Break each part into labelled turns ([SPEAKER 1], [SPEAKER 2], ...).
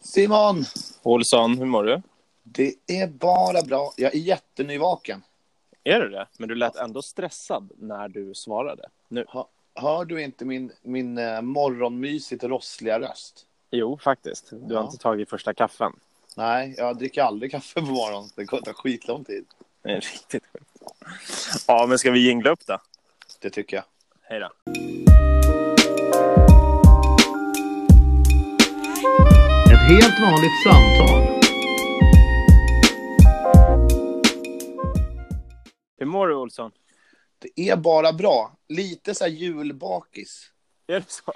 [SPEAKER 1] Simon!
[SPEAKER 2] Olsson, hur mår du?
[SPEAKER 1] Det är bara bra. Jag är jättenyvaken.
[SPEAKER 2] Är du det? Men du lät ändå stressad när du svarade. Nu.
[SPEAKER 1] Hör du inte min, min eh, morgonmysigt rossliga röst?
[SPEAKER 2] Jo, faktiskt. Du har
[SPEAKER 1] Ja.
[SPEAKER 2] inte tagit första kaffen.
[SPEAKER 1] Nej, jag dricker aldrig kaffe på morgonen. Det kommer ta skitlång tid.
[SPEAKER 2] Det är riktigt sjukt. Ja, men ska vi jingla upp då?
[SPEAKER 1] Det tycker jag.
[SPEAKER 2] Hej då.
[SPEAKER 1] Ett helt vanligt samtal.
[SPEAKER 2] Hur mår du, Olsson?
[SPEAKER 1] Det är bara bra. Lite så här julbakis.
[SPEAKER 2] Är det så?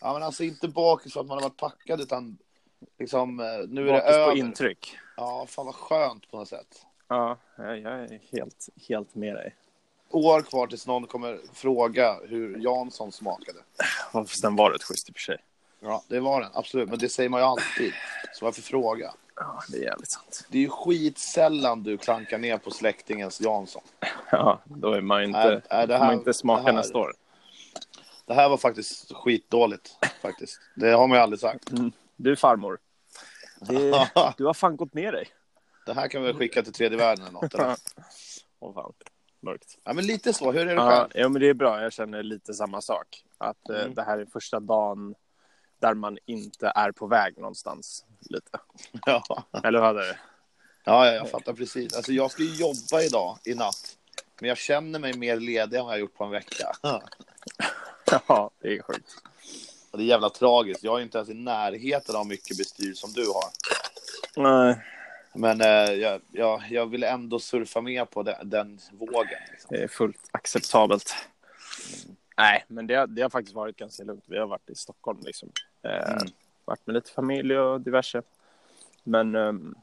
[SPEAKER 1] Ja, men alltså inte bakis för att man har varit packad, utan liksom eh, nu är det
[SPEAKER 2] Bakis på
[SPEAKER 1] över.
[SPEAKER 2] intryck.
[SPEAKER 1] Ja, fan vad skönt på något sätt.
[SPEAKER 2] Ja, jag jag är helt, helt med dig.
[SPEAKER 1] År kvar tills någon kommer fråga hur Jansson smakade.
[SPEAKER 2] Fast den var rätt schysst i och för sig.
[SPEAKER 1] Ja, det var den. Absolut. Men det säger man ju alltid. Så varför fråga?
[SPEAKER 2] Ja, det är jävligt sant.
[SPEAKER 1] Det är ju skitsällan du klankar ner på släktingens Jansson.
[SPEAKER 2] Ja, då är man ju inte...
[SPEAKER 1] Nej, nej, det
[SPEAKER 2] får
[SPEAKER 1] här-
[SPEAKER 2] man inte smaka
[SPEAKER 1] det här-
[SPEAKER 2] nästa år.
[SPEAKER 1] Det här var faktiskt skitdåligt. Faktiskt. Det har man ju aldrig sagt.
[SPEAKER 2] Du, farmor. Det, du har fan gått ner dig.
[SPEAKER 1] Det här kan vi väl skicka till tredje världen eller något. Eller?
[SPEAKER 2] Åh, fan. Mörkt.
[SPEAKER 1] Ja, men lite så. Hur är det
[SPEAKER 2] Ja,
[SPEAKER 1] själv?
[SPEAKER 2] ja, men det är bra. Jag känner lite samma sak. Att eh,
[SPEAKER 1] Mm.
[SPEAKER 2] det här är första dagen där man inte är på väg någonstans. Lite.
[SPEAKER 1] Ja,
[SPEAKER 2] Eller hur hade det?
[SPEAKER 1] ja, ja, jag fattar precis. Alltså, jag ska ju jobba idag, i natt. Men jag känner mig mer ledig än vad jag gjort på en vecka.
[SPEAKER 2] Ja, det är sjukt.
[SPEAKER 1] Och Det är jävla tragiskt. Jag är inte ens i närheten av mycket bestyr som du har.
[SPEAKER 2] Nej,
[SPEAKER 1] Men eh, jag, jag, jag vill ändå surfa med på den, den vågen. Liksom.
[SPEAKER 2] det är fullt acceptabelt. Nej, men det, det har faktiskt varit ganska lugnt. Vi har varit i Stockholm liksom. Eh,
[SPEAKER 1] Mm.
[SPEAKER 2] Varit med lite familj och diverse. Men ehm,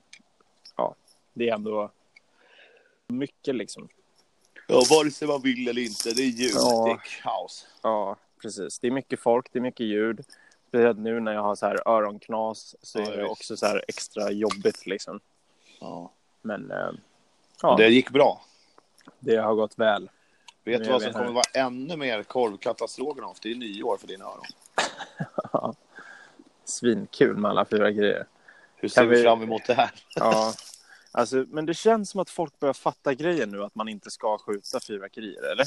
[SPEAKER 2] ja, det är ändå mycket liksom.
[SPEAKER 1] Ja, vare sig man vill eller inte, det är jul.
[SPEAKER 2] Ja.
[SPEAKER 1] Det är kaos.
[SPEAKER 2] Ja, precis. Det är mycket folk, det är mycket ljud. Speciellt nu när jag har så här öronknas så
[SPEAKER 1] Ja,
[SPEAKER 2] är det
[SPEAKER 1] visst.
[SPEAKER 2] också så här extra jobbigt liksom.
[SPEAKER 1] Ja.
[SPEAKER 2] Men eh,
[SPEAKER 1] Och
[SPEAKER 2] ja,
[SPEAKER 1] Det
[SPEAKER 2] det...
[SPEAKER 1] gick bra.
[SPEAKER 2] har gått väl.
[SPEAKER 1] Vet
[SPEAKER 2] Nu
[SPEAKER 1] du
[SPEAKER 2] är
[SPEAKER 1] vad
[SPEAKER 2] vi
[SPEAKER 1] som
[SPEAKER 2] här.
[SPEAKER 1] kommer vara ännu mer korvkatastrofen av? Det är nyår för dina öron.
[SPEAKER 2] Svinkul med alla fyra grejer.
[SPEAKER 1] Hur ser
[SPEAKER 2] Kan
[SPEAKER 1] vi
[SPEAKER 2] vi-
[SPEAKER 1] fram emot det här?
[SPEAKER 2] Ja. Alltså, men det känns som att folk börjar fatta grejen nu att man inte ska skjuta fyrverkerier, eller?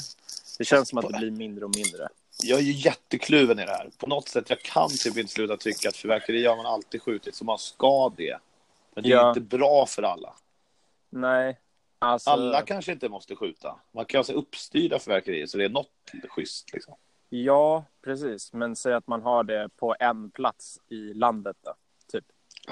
[SPEAKER 2] Det känns som att det blir mindre och mindre.
[SPEAKER 1] Jag är ju jättekluven i det här. På något sätt, jag kan typ inte sluta tycka att fyrverkeri har man alltid skjutit, så man ska det. Men det är
[SPEAKER 2] Ja.
[SPEAKER 1] inte bra för alla.
[SPEAKER 2] Nej, alltså...
[SPEAKER 1] Alla kanske inte måste skjuta. Man kan ju ha så uppstyrda fyrverkerier, så det är något schysst. Liksom.
[SPEAKER 2] Ja, precis. Men säg att man har det på en plats i landet då, typ.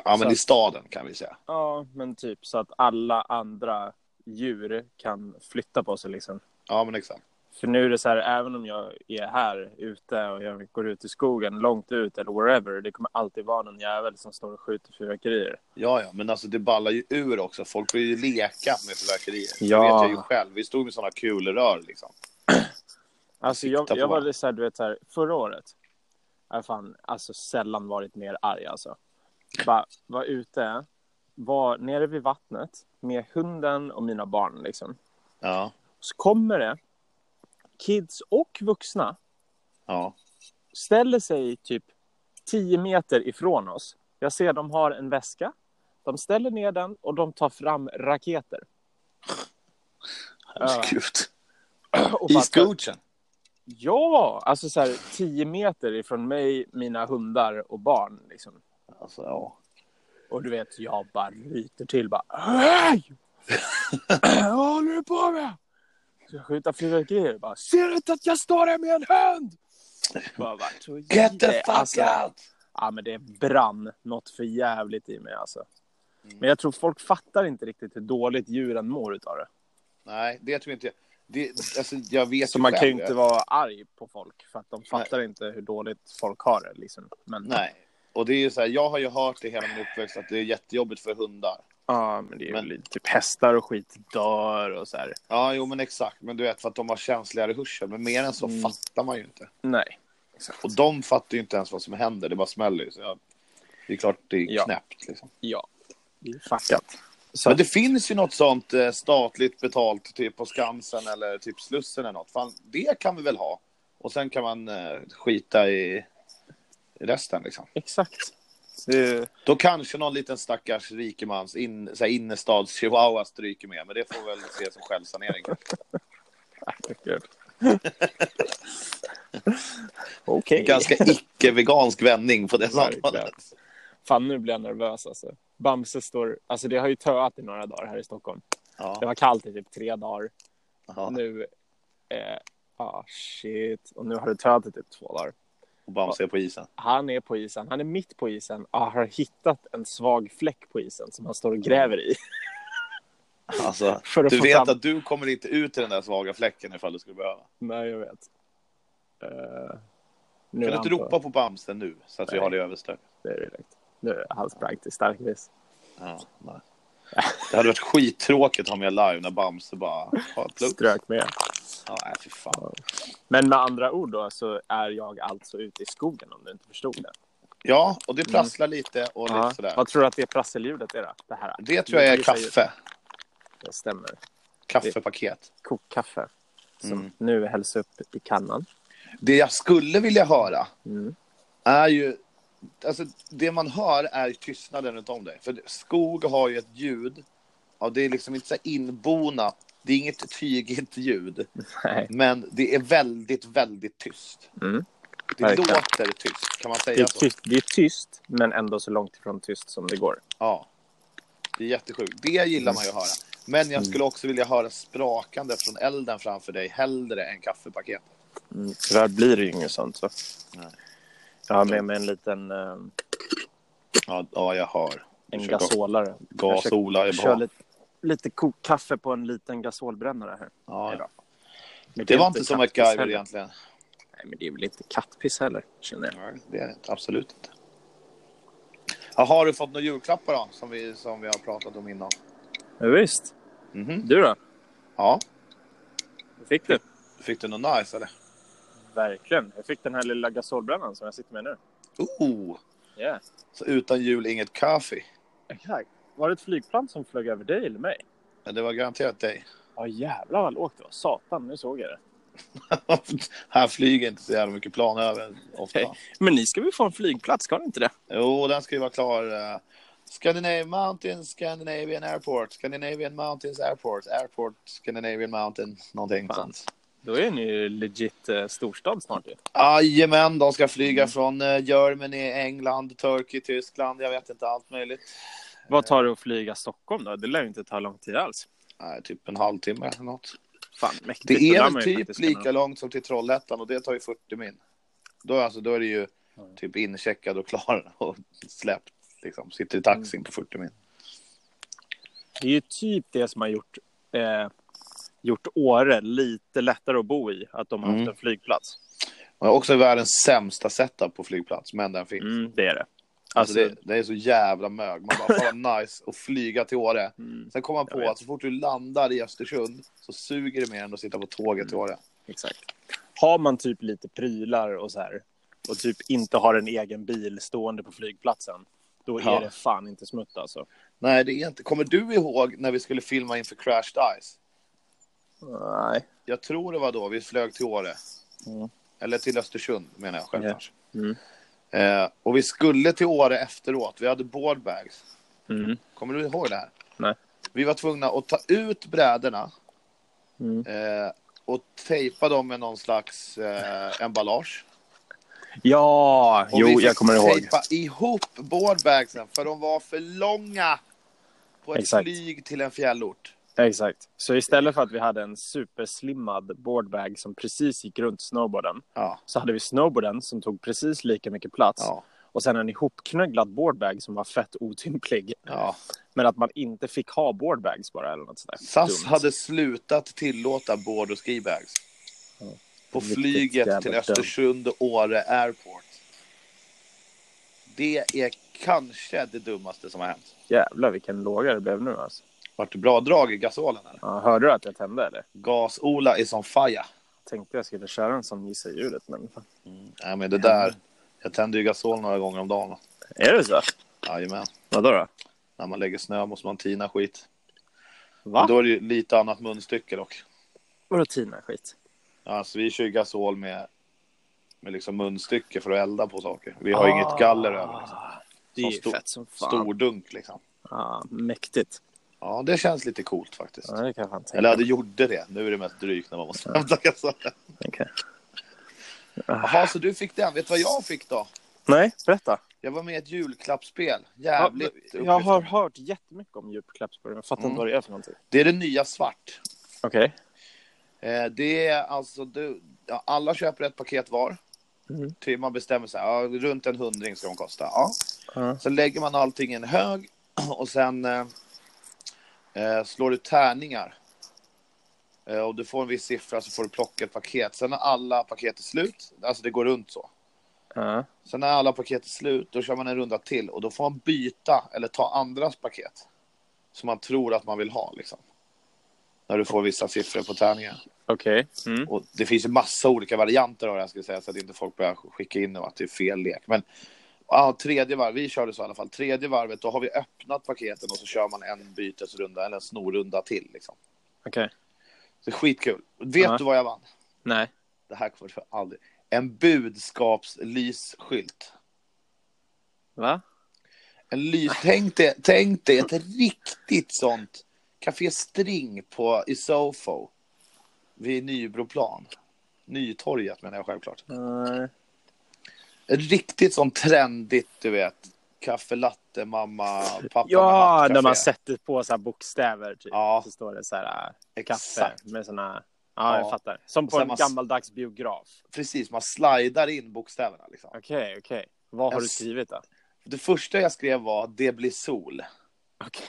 [SPEAKER 1] Ja, men
[SPEAKER 2] Så-
[SPEAKER 1] i staden kan vi säga.
[SPEAKER 2] Ja, men typ så att alla andra djur kan flytta på sig liksom.
[SPEAKER 1] Ja, men exakt.
[SPEAKER 2] För nu är det så här, även om jag är här ute och jag går ut i skogen, långt ut eller wherever, det kommer alltid vara någon jävel som står och skjuter fyrverkerier.
[SPEAKER 1] Ja, ja, men alltså det ballar ju ur också. Folk vill ju leka med fyrverkerier.
[SPEAKER 2] Ja.
[SPEAKER 1] Det vet jag ju själv. Vi stod med sådana kulrör liksom.
[SPEAKER 2] Alltså jag,
[SPEAKER 1] Sikta på
[SPEAKER 2] jag var
[SPEAKER 1] varandra.
[SPEAKER 2] lite så här, du vet så här, förra året, jag har fan, alltså sällan varit mer arg alltså. Bara var ute, var nere vid vattnet med hunden och mina barn liksom.
[SPEAKER 1] Ja,
[SPEAKER 2] Så kommer det kids och vuxna
[SPEAKER 1] ja.
[SPEAKER 2] ställer sig typ 10 meter ifrån oss. Jag ser de har en väska. De ställer ner den och de tar fram raketer. Ja.
[SPEAKER 1] Gud.
[SPEAKER 2] Och
[SPEAKER 1] I
[SPEAKER 2] bara-
[SPEAKER 1] skogen.
[SPEAKER 2] Ja, alltså så här 10 meter ifrån mig, mina hundar och barn. Liksom.
[SPEAKER 1] Alltså, ja.
[SPEAKER 2] Och du vet, jag bara ryter till bara. Hej! Vad håller du på med? Så jag skjuter fyrverkerier bara. Ser du inte att jag står här med en hund? Bara, vart så
[SPEAKER 1] Get the
[SPEAKER 2] jä-
[SPEAKER 1] fuck
[SPEAKER 2] alltså,
[SPEAKER 1] out!
[SPEAKER 2] Ja, men det brann något för jävligt i mig alltså. Men jag tror folk fattar inte riktigt hur dåligt djuren mår utav det.
[SPEAKER 1] Nej, det tror jag inte. Det, alltså, jag vet
[SPEAKER 2] Så
[SPEAKER 1] ju
[SPEAKER 2] man
[SPEAKER 1] själv.
[SPEAKER 2] kan ju inte vara arg på folk för att de fattar inte hur dåligt folk har det liksom. Men,
[SPEAKER 1] Nej. Och det är ju så här, jag har ju hört det hela min uppväxt att det är jättejobbigt för hundar.
[SPEAKER 2] Ja, men det är
[SPEAKER 1] Men-
[SPEAKER 2] väl typ hästar och skit dör och så här.
[SPEAKER 1] Ja, jo men exakt. Men du vet, för att de har känsligare hörsel. Men mer än så
[SPEAKER 2] Mm.
[SPEAKER 1] fattar man ju inte.
[SPEAKER 2] Nej.
[SPEAKER 1] Och de fattar ju inte ens vad som händer. Det bara smäller ju. Så jag, det är klart det är
[SPEAKER 2] Ja.
[SPEAKER 1] knäppt liksom.
[SPEAKER 2] Ja. Det är fuckat. Så,
[SPEAKER 1] Men det finns ju något sånt eh, statligt betalt typ på Skansen eller typ Slussen eller något. Fan, det kan vi väl ha. Och sen kan man eh, skita i i resten liksom.
[SPEAKER 2] Exakt. Det är,
[SPEAKER 1] Då kanske någon liten stackars rikemans in, så här innerstads-chihuahua stryker med, men det får väl ses som självsanering.
[SPEAKER 2] Gud. Okej.
[SPEAKER 1] Ganska icke-vegansk vändning på det
[SPEAKER 2] Verkligen.
[SPEAKER 1] samtalet.
[SPEAKER 2] Fan, nu blir jag nervös alltså. Bamse står... Alltså det har ju töat i några dagar här i Stockholm. Det
[SPEAKER 1] Ja,
[SPEAKER 2] var kallt i typ tre dagar.
[SPEAKER 1] ja.
[SPEAKER 2] Nu... Eh, ah, shit. Och nu har det töat i typ två dagar.
[SPEAKER 1] Och Bamse är på isen.
[SPEAKER 2] Han är på isen. Han är mitt på isen. Ah, har hittat en svag fläck på isen som han står och gräver i.
[SPEAKER 1] Alltså,
[SPEAKER 2] För att
[SPEAKER 1] du
[SPEAKER 2] få
[SPEAKER 1] vet
[SPEAKER 2] fram...
[SPEAKER 1] att du kommer inte ut i den där svaga fläcken ifall du skulle behöva.
[SPEAKER 2] Nej, jag vet. Eh, nu
[SPEAKER 1] Kan
[SPEAKER 2] är
[SPEAKER 1] du
[SPEAKER 2] han
[SPEAKER 1] inte
[SPEAKER 2] på-
[SPEAKER 1] ropa på Bamse nu, så att vi
[SPEAKER 2] Nej.
[SPEAKER 1] har det överstökat?
[SPEAKER 2] Det är direkt. Nu är hans praktiskt starkvis.
[SPEAKER 1] Ja, nej. Det hade varit skittråkigt att ha med live när Bamse bara... Ja, plugg.
[SPEAKER 2] Strök med.
[SPEAKER 1] Ja, nej, fy fan.
[SPEAKER 2] Men med andra ord då så är jag alltså ute i skogen om du inte förstod det.
[SPEAKER 1] ja, och det prasslar lite och lite
[SPEAKER 2] Ja.
[SPEAKER 1] sådär.
[SPEAKER 2] Vad tror du att det prasseljudet är då? Det här.
[SPEAKER 1] Det tror jag är
[SPEAKER 2] Gissa ljud.
[SPEAKER 1] kaffe.
[SPEAKER 2] Det stämmer.
[SPEAKER 1] Kaffepaket.
[SPEAKER 2] Kokkaffe. Som
[SPEAKER 1] Mm.
[SPEAKER 2] nu hälls upp i kannan.
[SPEAKER 1] Det jag skulle vilja höra
[SPEAKER 2] Mm.
[SPEAKER 1] är ju... Alltså, det man hör är tystnaden runt om dig. För skog har ju ett ljud. Ja, det är liksom inte så här inbonat. Det är inget tygigt ljud.
[SPEAKER 2] Nej.
[SPEAKER 1] Men det är väldigt, väldigt tyst.
[SPEAKER 2] Mm.
[SPEAKER 1] Det
[SPEAKER 2] Verkligen.
[SPEAKER 1] låter tyst, kan man
[SPEAKER 2] Det, är
[SPEAKER 1] säga så?
[SPEAKER 2] tyst, det är tyst, men ändå så långt ifrån tyst som det går.
[SPEAKER 1] Ja. Det är jättesjukt. Det gillar man ju att höra. Men jag skulle också vilja höra sprakande från elden framför dig hellre än kaffepaket.
[SPEAKER 2] Mm. Tyvärr blir det ju inget sånt. Så.
[SPEAKER 1] Nej.
[SPEAKER 2] Jag har med mig en liten eh,
[SPEAKER 1] Ja, ja jag hör.
[SPEAKER 2] en
[SPEAKER 1] Försök att-
[SPEAKER 2] gasolare.
[SPEAKER 1] Gasola är
[SPEAKER 2] Kör
[SPEAKER 1] bra.
[SPEAKER 2] lite, lite kokkaffe på en liten gasolbrännare här.
[SPEAKER 1] Ja,
[SPEAKER 2] Men
[SPEAKER 1] Det
[SPEAKER 2] är
[SPEAKER 1] var inte som
[SPEAKER 2] kattpiss
[SPEAKER 1] MacGyver
[SPEAKER 2] heller.
[SPEAKER 1] egentligen.
[SPEAKER 2] Nej, men det är väl inte kattpiss heller, känner jag.
[SPEAKER 1] Nej, det är det inte. Absolut inte. Ja, har du fått några julklappar då, som vi, som vi har pratat om innan?
[SPEAKER 2] Ja, visst.
[SPEAKER 1] Mhm.
[SPEAKER 2] Du då?
[SPEAKER 1] Ja.
[SPEAKER 2] Vad fick du?
[SPEAKER 1] Fick du något nice eller?
[SPEAKER 2] Verkligen. Jag fick den här lilla gasolbrännan som jag sitter med nu.
[SPEAKER 1] Oh!
[SPEAKER 2] Ja.
[SPEAKER 1] Så utan jul inget kaffe.
[SPEAKER 2] Exakt. Var det ett flygplan som flög över dig eller mig?
[SPEAKER 1] Men det var garanterat dig.
[SPEAKER 2] Ja, jävlar vad lågt det var. Satan, nu såg jag det.
[SPEAKER 1] Här flyger inte så jävla mycket plan över ofta.
[SPEAKER 2] Nej. Men ni ska väl få en flygplats, ska ni inte det?
[SPEAKER 1] Jo, den ska ju vara klar. eh, Scandinavian Mountains, Scandinavian Airport, Scandinavian Mountains Airport, Airport, Scandinavian Mountain, någonting
[SPEAKER 2] Fan.
[SPEAKER 1] sånt.
[SPEAKER 2] Då är ni ju legit eh, storstad snart ju.
[SPEAKER 1] Jajamän, de ska flyga
[SPEAKER 2] Mm.
[SPEAKER 1] från eh, Germany, England, Turkey, Tyskland, jag vet inte, allt möjligt.
[SPEAKER 2] Vad tar det att flyga Stockholm då? Det lär ju inte ta lång tid alls.
[SPEAKER 1] Nej, typ en halvtimme eller något.
[SPEAKER 2] Fan, mäktigt.
[SPEAKER 1] Det
[SPEAKER 2] Då lär
[SPEAKER 1] är
[SPEAKER 2] man
[SPEAKER 1] väl
[SPEAKER 2] ju
[SPEAKER 1] typ
[SPEAKER 2] faktiskt kunna-
[SPEAKER 1] lika långt som till Trollhättan och det tar ju 40 min. Då, är alltså, då är det ju typ incheckad och klar och släppt. Liksom. Sitter i
[SPEAKER 2] Mm.
[SPEAKER 1] taxin på 40 min.
[SPEAKER 2] Det är ju typ det som har gjort, eh, gjort Åre lite lättare att bo i, att de har
[SPEAKER 1] Mm.
[SPEAKER 2] haft en flygplats.
[SPEAKER 1] Men också världens sämsta setup på flygplats, men den finns.
[SPEAKER 2] Mm, det är det.
[SPEAKER 1] Alltså,
[SPEAKER 2] Alltså,
[SPEAKER 1] det, det är så jävla mög. Man bara, fan vad nice att flyga till Åre.
[SPEAKER 2] Mm,
[SPEAKER 1] Sen kommer man
[SPEAKER 2] Jag
[SPEAKER 1] på
[SPEAKER 2] vet.
[SPEAKER 1] att så fort du landar i Östersund så suger det mer än att sitta på tåget
[SPEAKER 2] Mm.
[SPEAKER 1] till Åre.
[SPEAKER 2] exakt. Har man typ lite prylar och så här och typ inte har en egen bil stående på flygplatsen, då är
[SPEAKER 1] Ja.
[SPEAKER 2] det fan inte smutt alltså.
[SPEAKER 1] Nej, det är inte. Kommer du ihåg när vi skulle filma inför Crashed Ice?
[SPEAKER 2] Nej.
[SPEAKER 1] Jag tror det var då vi flög till Åre.
[SPEAKER 2] Mm.
[SPEAKER 1] Eller till Östersund menar jag självklart.
[SPEAKER 2] Mm.
[SPEAKER 1] Eh, och vi skulle till Åre efteråt. Vi hade boardbags.
[SPEAKER 2] Mm.
[SPEAKER 1] Kommer du ihåg det här?
[SPEAKER 2] Nej.
[SPEAKER 1] Vi var tvungna att ta ut bräderna
[SPEAKER 2] Mm.
[SPEAKER 1] eh, och tejpa dem med någon slags eh, emballage.
[SPEAKER 2] Ja,
[SPEAKER 1] Och vi
[SPEAKER 2] jo,
[SPEAKER 1] fick
[SPEAKER 2] jag kommer ihåg.
[SPEAKER 1] tejpa ihop boardbagsen för de var för långa på ett
[SPEAKER 2] Exakt.
[SPEAKER 1] flyg till en fjällort.
[SPEAKER 2] Exakt. Så istället för att vi hade en superslimmad boardbag som precis gick runt snowboarden,
[SPEAKER 1] Ja.
[SPEAKER 2] så hade vi snowboarden som tog precis lika mycket plats
[SPEAKER 1] Ja.
[SPEAKER 2] och sen en ihopknögglad boardbag som var fett otymplig.
[SPEAKER 1] ja.
[SPEAKER 2] Men att man inte fick ha boardbags bara eller något sådär.
[SPEAKER 1] SAS
[SPEAKER 2] Dumt.
[SPEAKER 1] hade slutat tillåta board och skibags på
[SPEAKER 2] Riktigt
[SPEAKER 1] flyget
[SPEAKER 2] jävla
[SPEAKER 1] till
[SPEAKER 2] dumt.
[SPEAKER 1] Östersund och Åre Airport. Det är kanske det dummaste som har hänt.
[SPEAKER 2] Jävlar vilken låga det blev nu alltså.
[SPEAKER 1] Vart det bra drag i gasolen? Här.
[SPEAKER 2] Ja, hörde du att jag tände eller?
[SPEAKER 1] Gas-Ola är som faja.
[SPEAKER 2] Tänkte jag skulle köra en sån gissa ljudet men fan.
[SPEAKER 1] Nej, men det där. Jag tänder ju gasol några gånger om dagen.
[SPEAKER 2] Är det så?
[SPEAKER 1] Jajamän.
[SPEAKER 2] Vadå då?
[SPEAKER 1] När man lägger snö måste man tina skit.
[SPEAKER 2] Va?
[SPEAKER 1] Då är det ju lite annat munstycke dock.
[SPEAKER 2] Vadå tina skit?
[SPEAKER 1] Alltså, vi kör ju gasol med, med liksom munstycke för att elda på saker. Vi har inget galler över. Liksom.
[SPEAKER 2] Ah, Det är
[SPEAKER 1] Som
[SPEAKER 2] ju
[SPEAKER 1] stor-
[SPEAKER 2] fett som fan.
[SPEAKER 1] Stor dunk liksom.
[SPEAKER 2] Ja, mäktigt.
[SPEAKER 1] Ja, det känns lite coolt faktiskt.
[SPEAKER 2] Ja, det kan jag fan tänka
[SPEAKER 1] Eller ja, det gjorde det. Nu är det mest drygt när man måste hämta kassan.
[SPEAKER 2] mig. Okej.
[SPEAKER 1] Jaha, så du fick den. Vet du vad jag fick då?
[SPEAKER 2] Nej, berätta.
[SPEAKER 1] Jag var med i ett julklappsspel. Jävligt
[SPEAKER 2] Ja, jag
[SPEAKER 1] upplyftande.
[SPEAKER 2] har hört jättemycket om julklappsspel, men jag fattar
[SPEAKER 1] Mm.
[SPEAKER 2] inte vad det är för någonting.
[SPEAKER 1] Det är det nya svart.
[SPEAKER 2] Okej.
[SPEAKER 1] Eh, Det är alltså, du, ja, alla köper ett paket var.
[SPEAKER 2] Mm.
[SPEAKER 1] Typ man bestämmer sig, ja, runt en hundring ska de kosta. Ja.
[SPEAKER 2] Ja.
[SPEAKER 1] Sen lägger man allting i en hög och sen eh, eh, slår du tärningar. Eh, och du får en viss siffra så får du plocka ett paket. Sen när alla paket är slut, alltså det går runt så.
[SPEAKER 2] Ja.
[SPEAKER 1] Sen när alla paket är slut, då kör man en runda till och då får man byta eller ta andras paket. Som man tror att man vill ha liksom. När du får vissa siffror på tärningar.
[SPEAKER 2] Okej. Mm.
[SPEAKER 1] Och det finns ju massa olika varianter av det här ska jag säga så att inte folk börjar skicka in nu att det är fel lek. Men ja, tredje varv, vi körde så i alla fall. Tredje varvet, då har vi öppnat paketen och så kör man en bytesrunda eller en snorrunda till liksom.
[SPEAKER 2] Okej.
[SPEAKER 1] Så det är skitkul. Vet
[SPEAKER 2] Ja.
[SPEAKER 1] du vad jag vann?
[SPEAKER 2] Nej.
[SPEAKER 1] Det här kommer du aldrig. En budskapslysskylt.
[SPEAKER 2] Va?
[SPEAKER 1] En lys, tänk dig, tänk dig ett riktigt sånt Café String på i Sofo. Vid Nybroplan. Nytorget menar jag självklart.
[SPEAKER 2] Nej.
[SPEAKER 1] Ett riktigt sånt trendigt, du vet. Kaffe latte, mamma, pappa med
[SPEAKER 2] Ja,
[SPEAKER 1] hatt,
[SPEAKER 2] när man
[SPEAKER 1] café.
[SPEAKER 2] sätter på så här bokstäver typ.
[SPEAKER 1] Ja.
[SPEAKER 2] Så står det så här äh, kaffe
[SPEAKER 1] Exakt.
[SPEAKER 2] med såna. Ja, jag
[SPEAKER 1] Ja.
[SPEAKER 2] fattar. Som på
[SPEAKER 1] Sen
[SPEAKER 2] en
[SPEAKER 1] man-
[SPEAKER 2] gammaldags biograf.
[SPEAKER 1] Precis, man slidar in bokstäverna. Liksom.
[SPEAKER 2] Okej, okej. Vad har
[SPEAKER 1] Jag
[SPEAKER 2] du
[SPEAKER 1] s-
[SPEAKER 2] skrivit då?
[SPEAKER 1] Det första jag skrev var det blir sol.
[SPEAKER 2] Okej.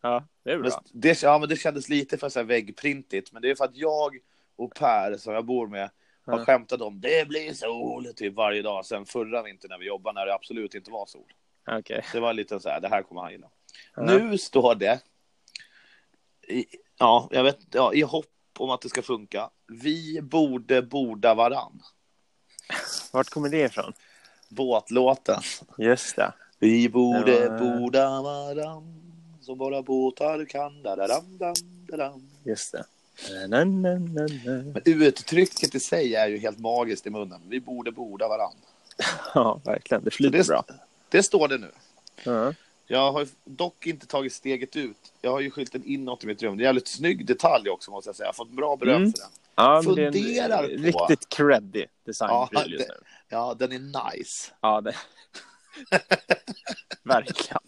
[SPEAKER 2] Ja, det är
[SPEAKER 1] Men
[SPEAKER 2] bra.
[SPEAKER 1] det, ja, men det kändes lite för så här väggprintigt, men det är för att jag och Per, som jag bor med, har
[SPEAKER 2] Ja.
[SPEAKER 1] skämtat om det blir sol typ varje dag sen förra vintern när vi jobbade, när det absolut inte var sol.
[SPEAKER 2] Okej.
[SPEAKER 1] Det var lite så här, det här kommer han gilla.
[SPEAKER 2] Ja.
[SPEAKER 1] Nu står det, i, ja, jag vet, ja, i hopp om att det ska funka, vi borde borda varann.
[SPEAKER 2] Vart kommer det ifrån?
[SPEAKER 1] Båtlåten.
[SPEAKER 2] Just det.
[SPEAKER 1] Vi
[SPEAKER 2] Det
[SPEAKER 1] borde
[SPEAKER 2] var-
[SPEAKER 1] borda varann, som bara båtar kan. Da-da-dam, dam, da-dam.
[SPEAKER 2] Just det. Na, na, na, na.
[SPEAKER 1] Men uttrycket i sig är ju helt magiskt i munnen. Vi borde borda varann.
[SPEAKER 2] Ja, verkligen. Det flyter
[SPEAKER 1] Det-
[SPEAKER 2] bra.
[SPEAKER 1] Det står det nu.
[SPEAKER 2] Ja.
[SPEAKER 1] Jag har ju dock inte tagit steget ut. Jag har ju skylten inåt i mitt rum. Det är en jävligt snygg detalj också måste jag säga. Jag har fått bra beröm
[SPEAKER 2] Mm.
[SPEAKER 1] för den.
[SPEAKER 2] Ja, men det är
[SPEAKER 1] Funderar
[SPEAKER 2] en
[SPEAKER 1] på-
[SPEAKER 2] riktigt creddig designpryl
[SPEAKER 1] Ja,
[SPEAKER 2] just
[SPEAKER 1] det-
[SPEAKER 2] nu.
[SPEAKER 1] Ja, den är nice.
[SPEAKER 2] Ja, det... verkligen.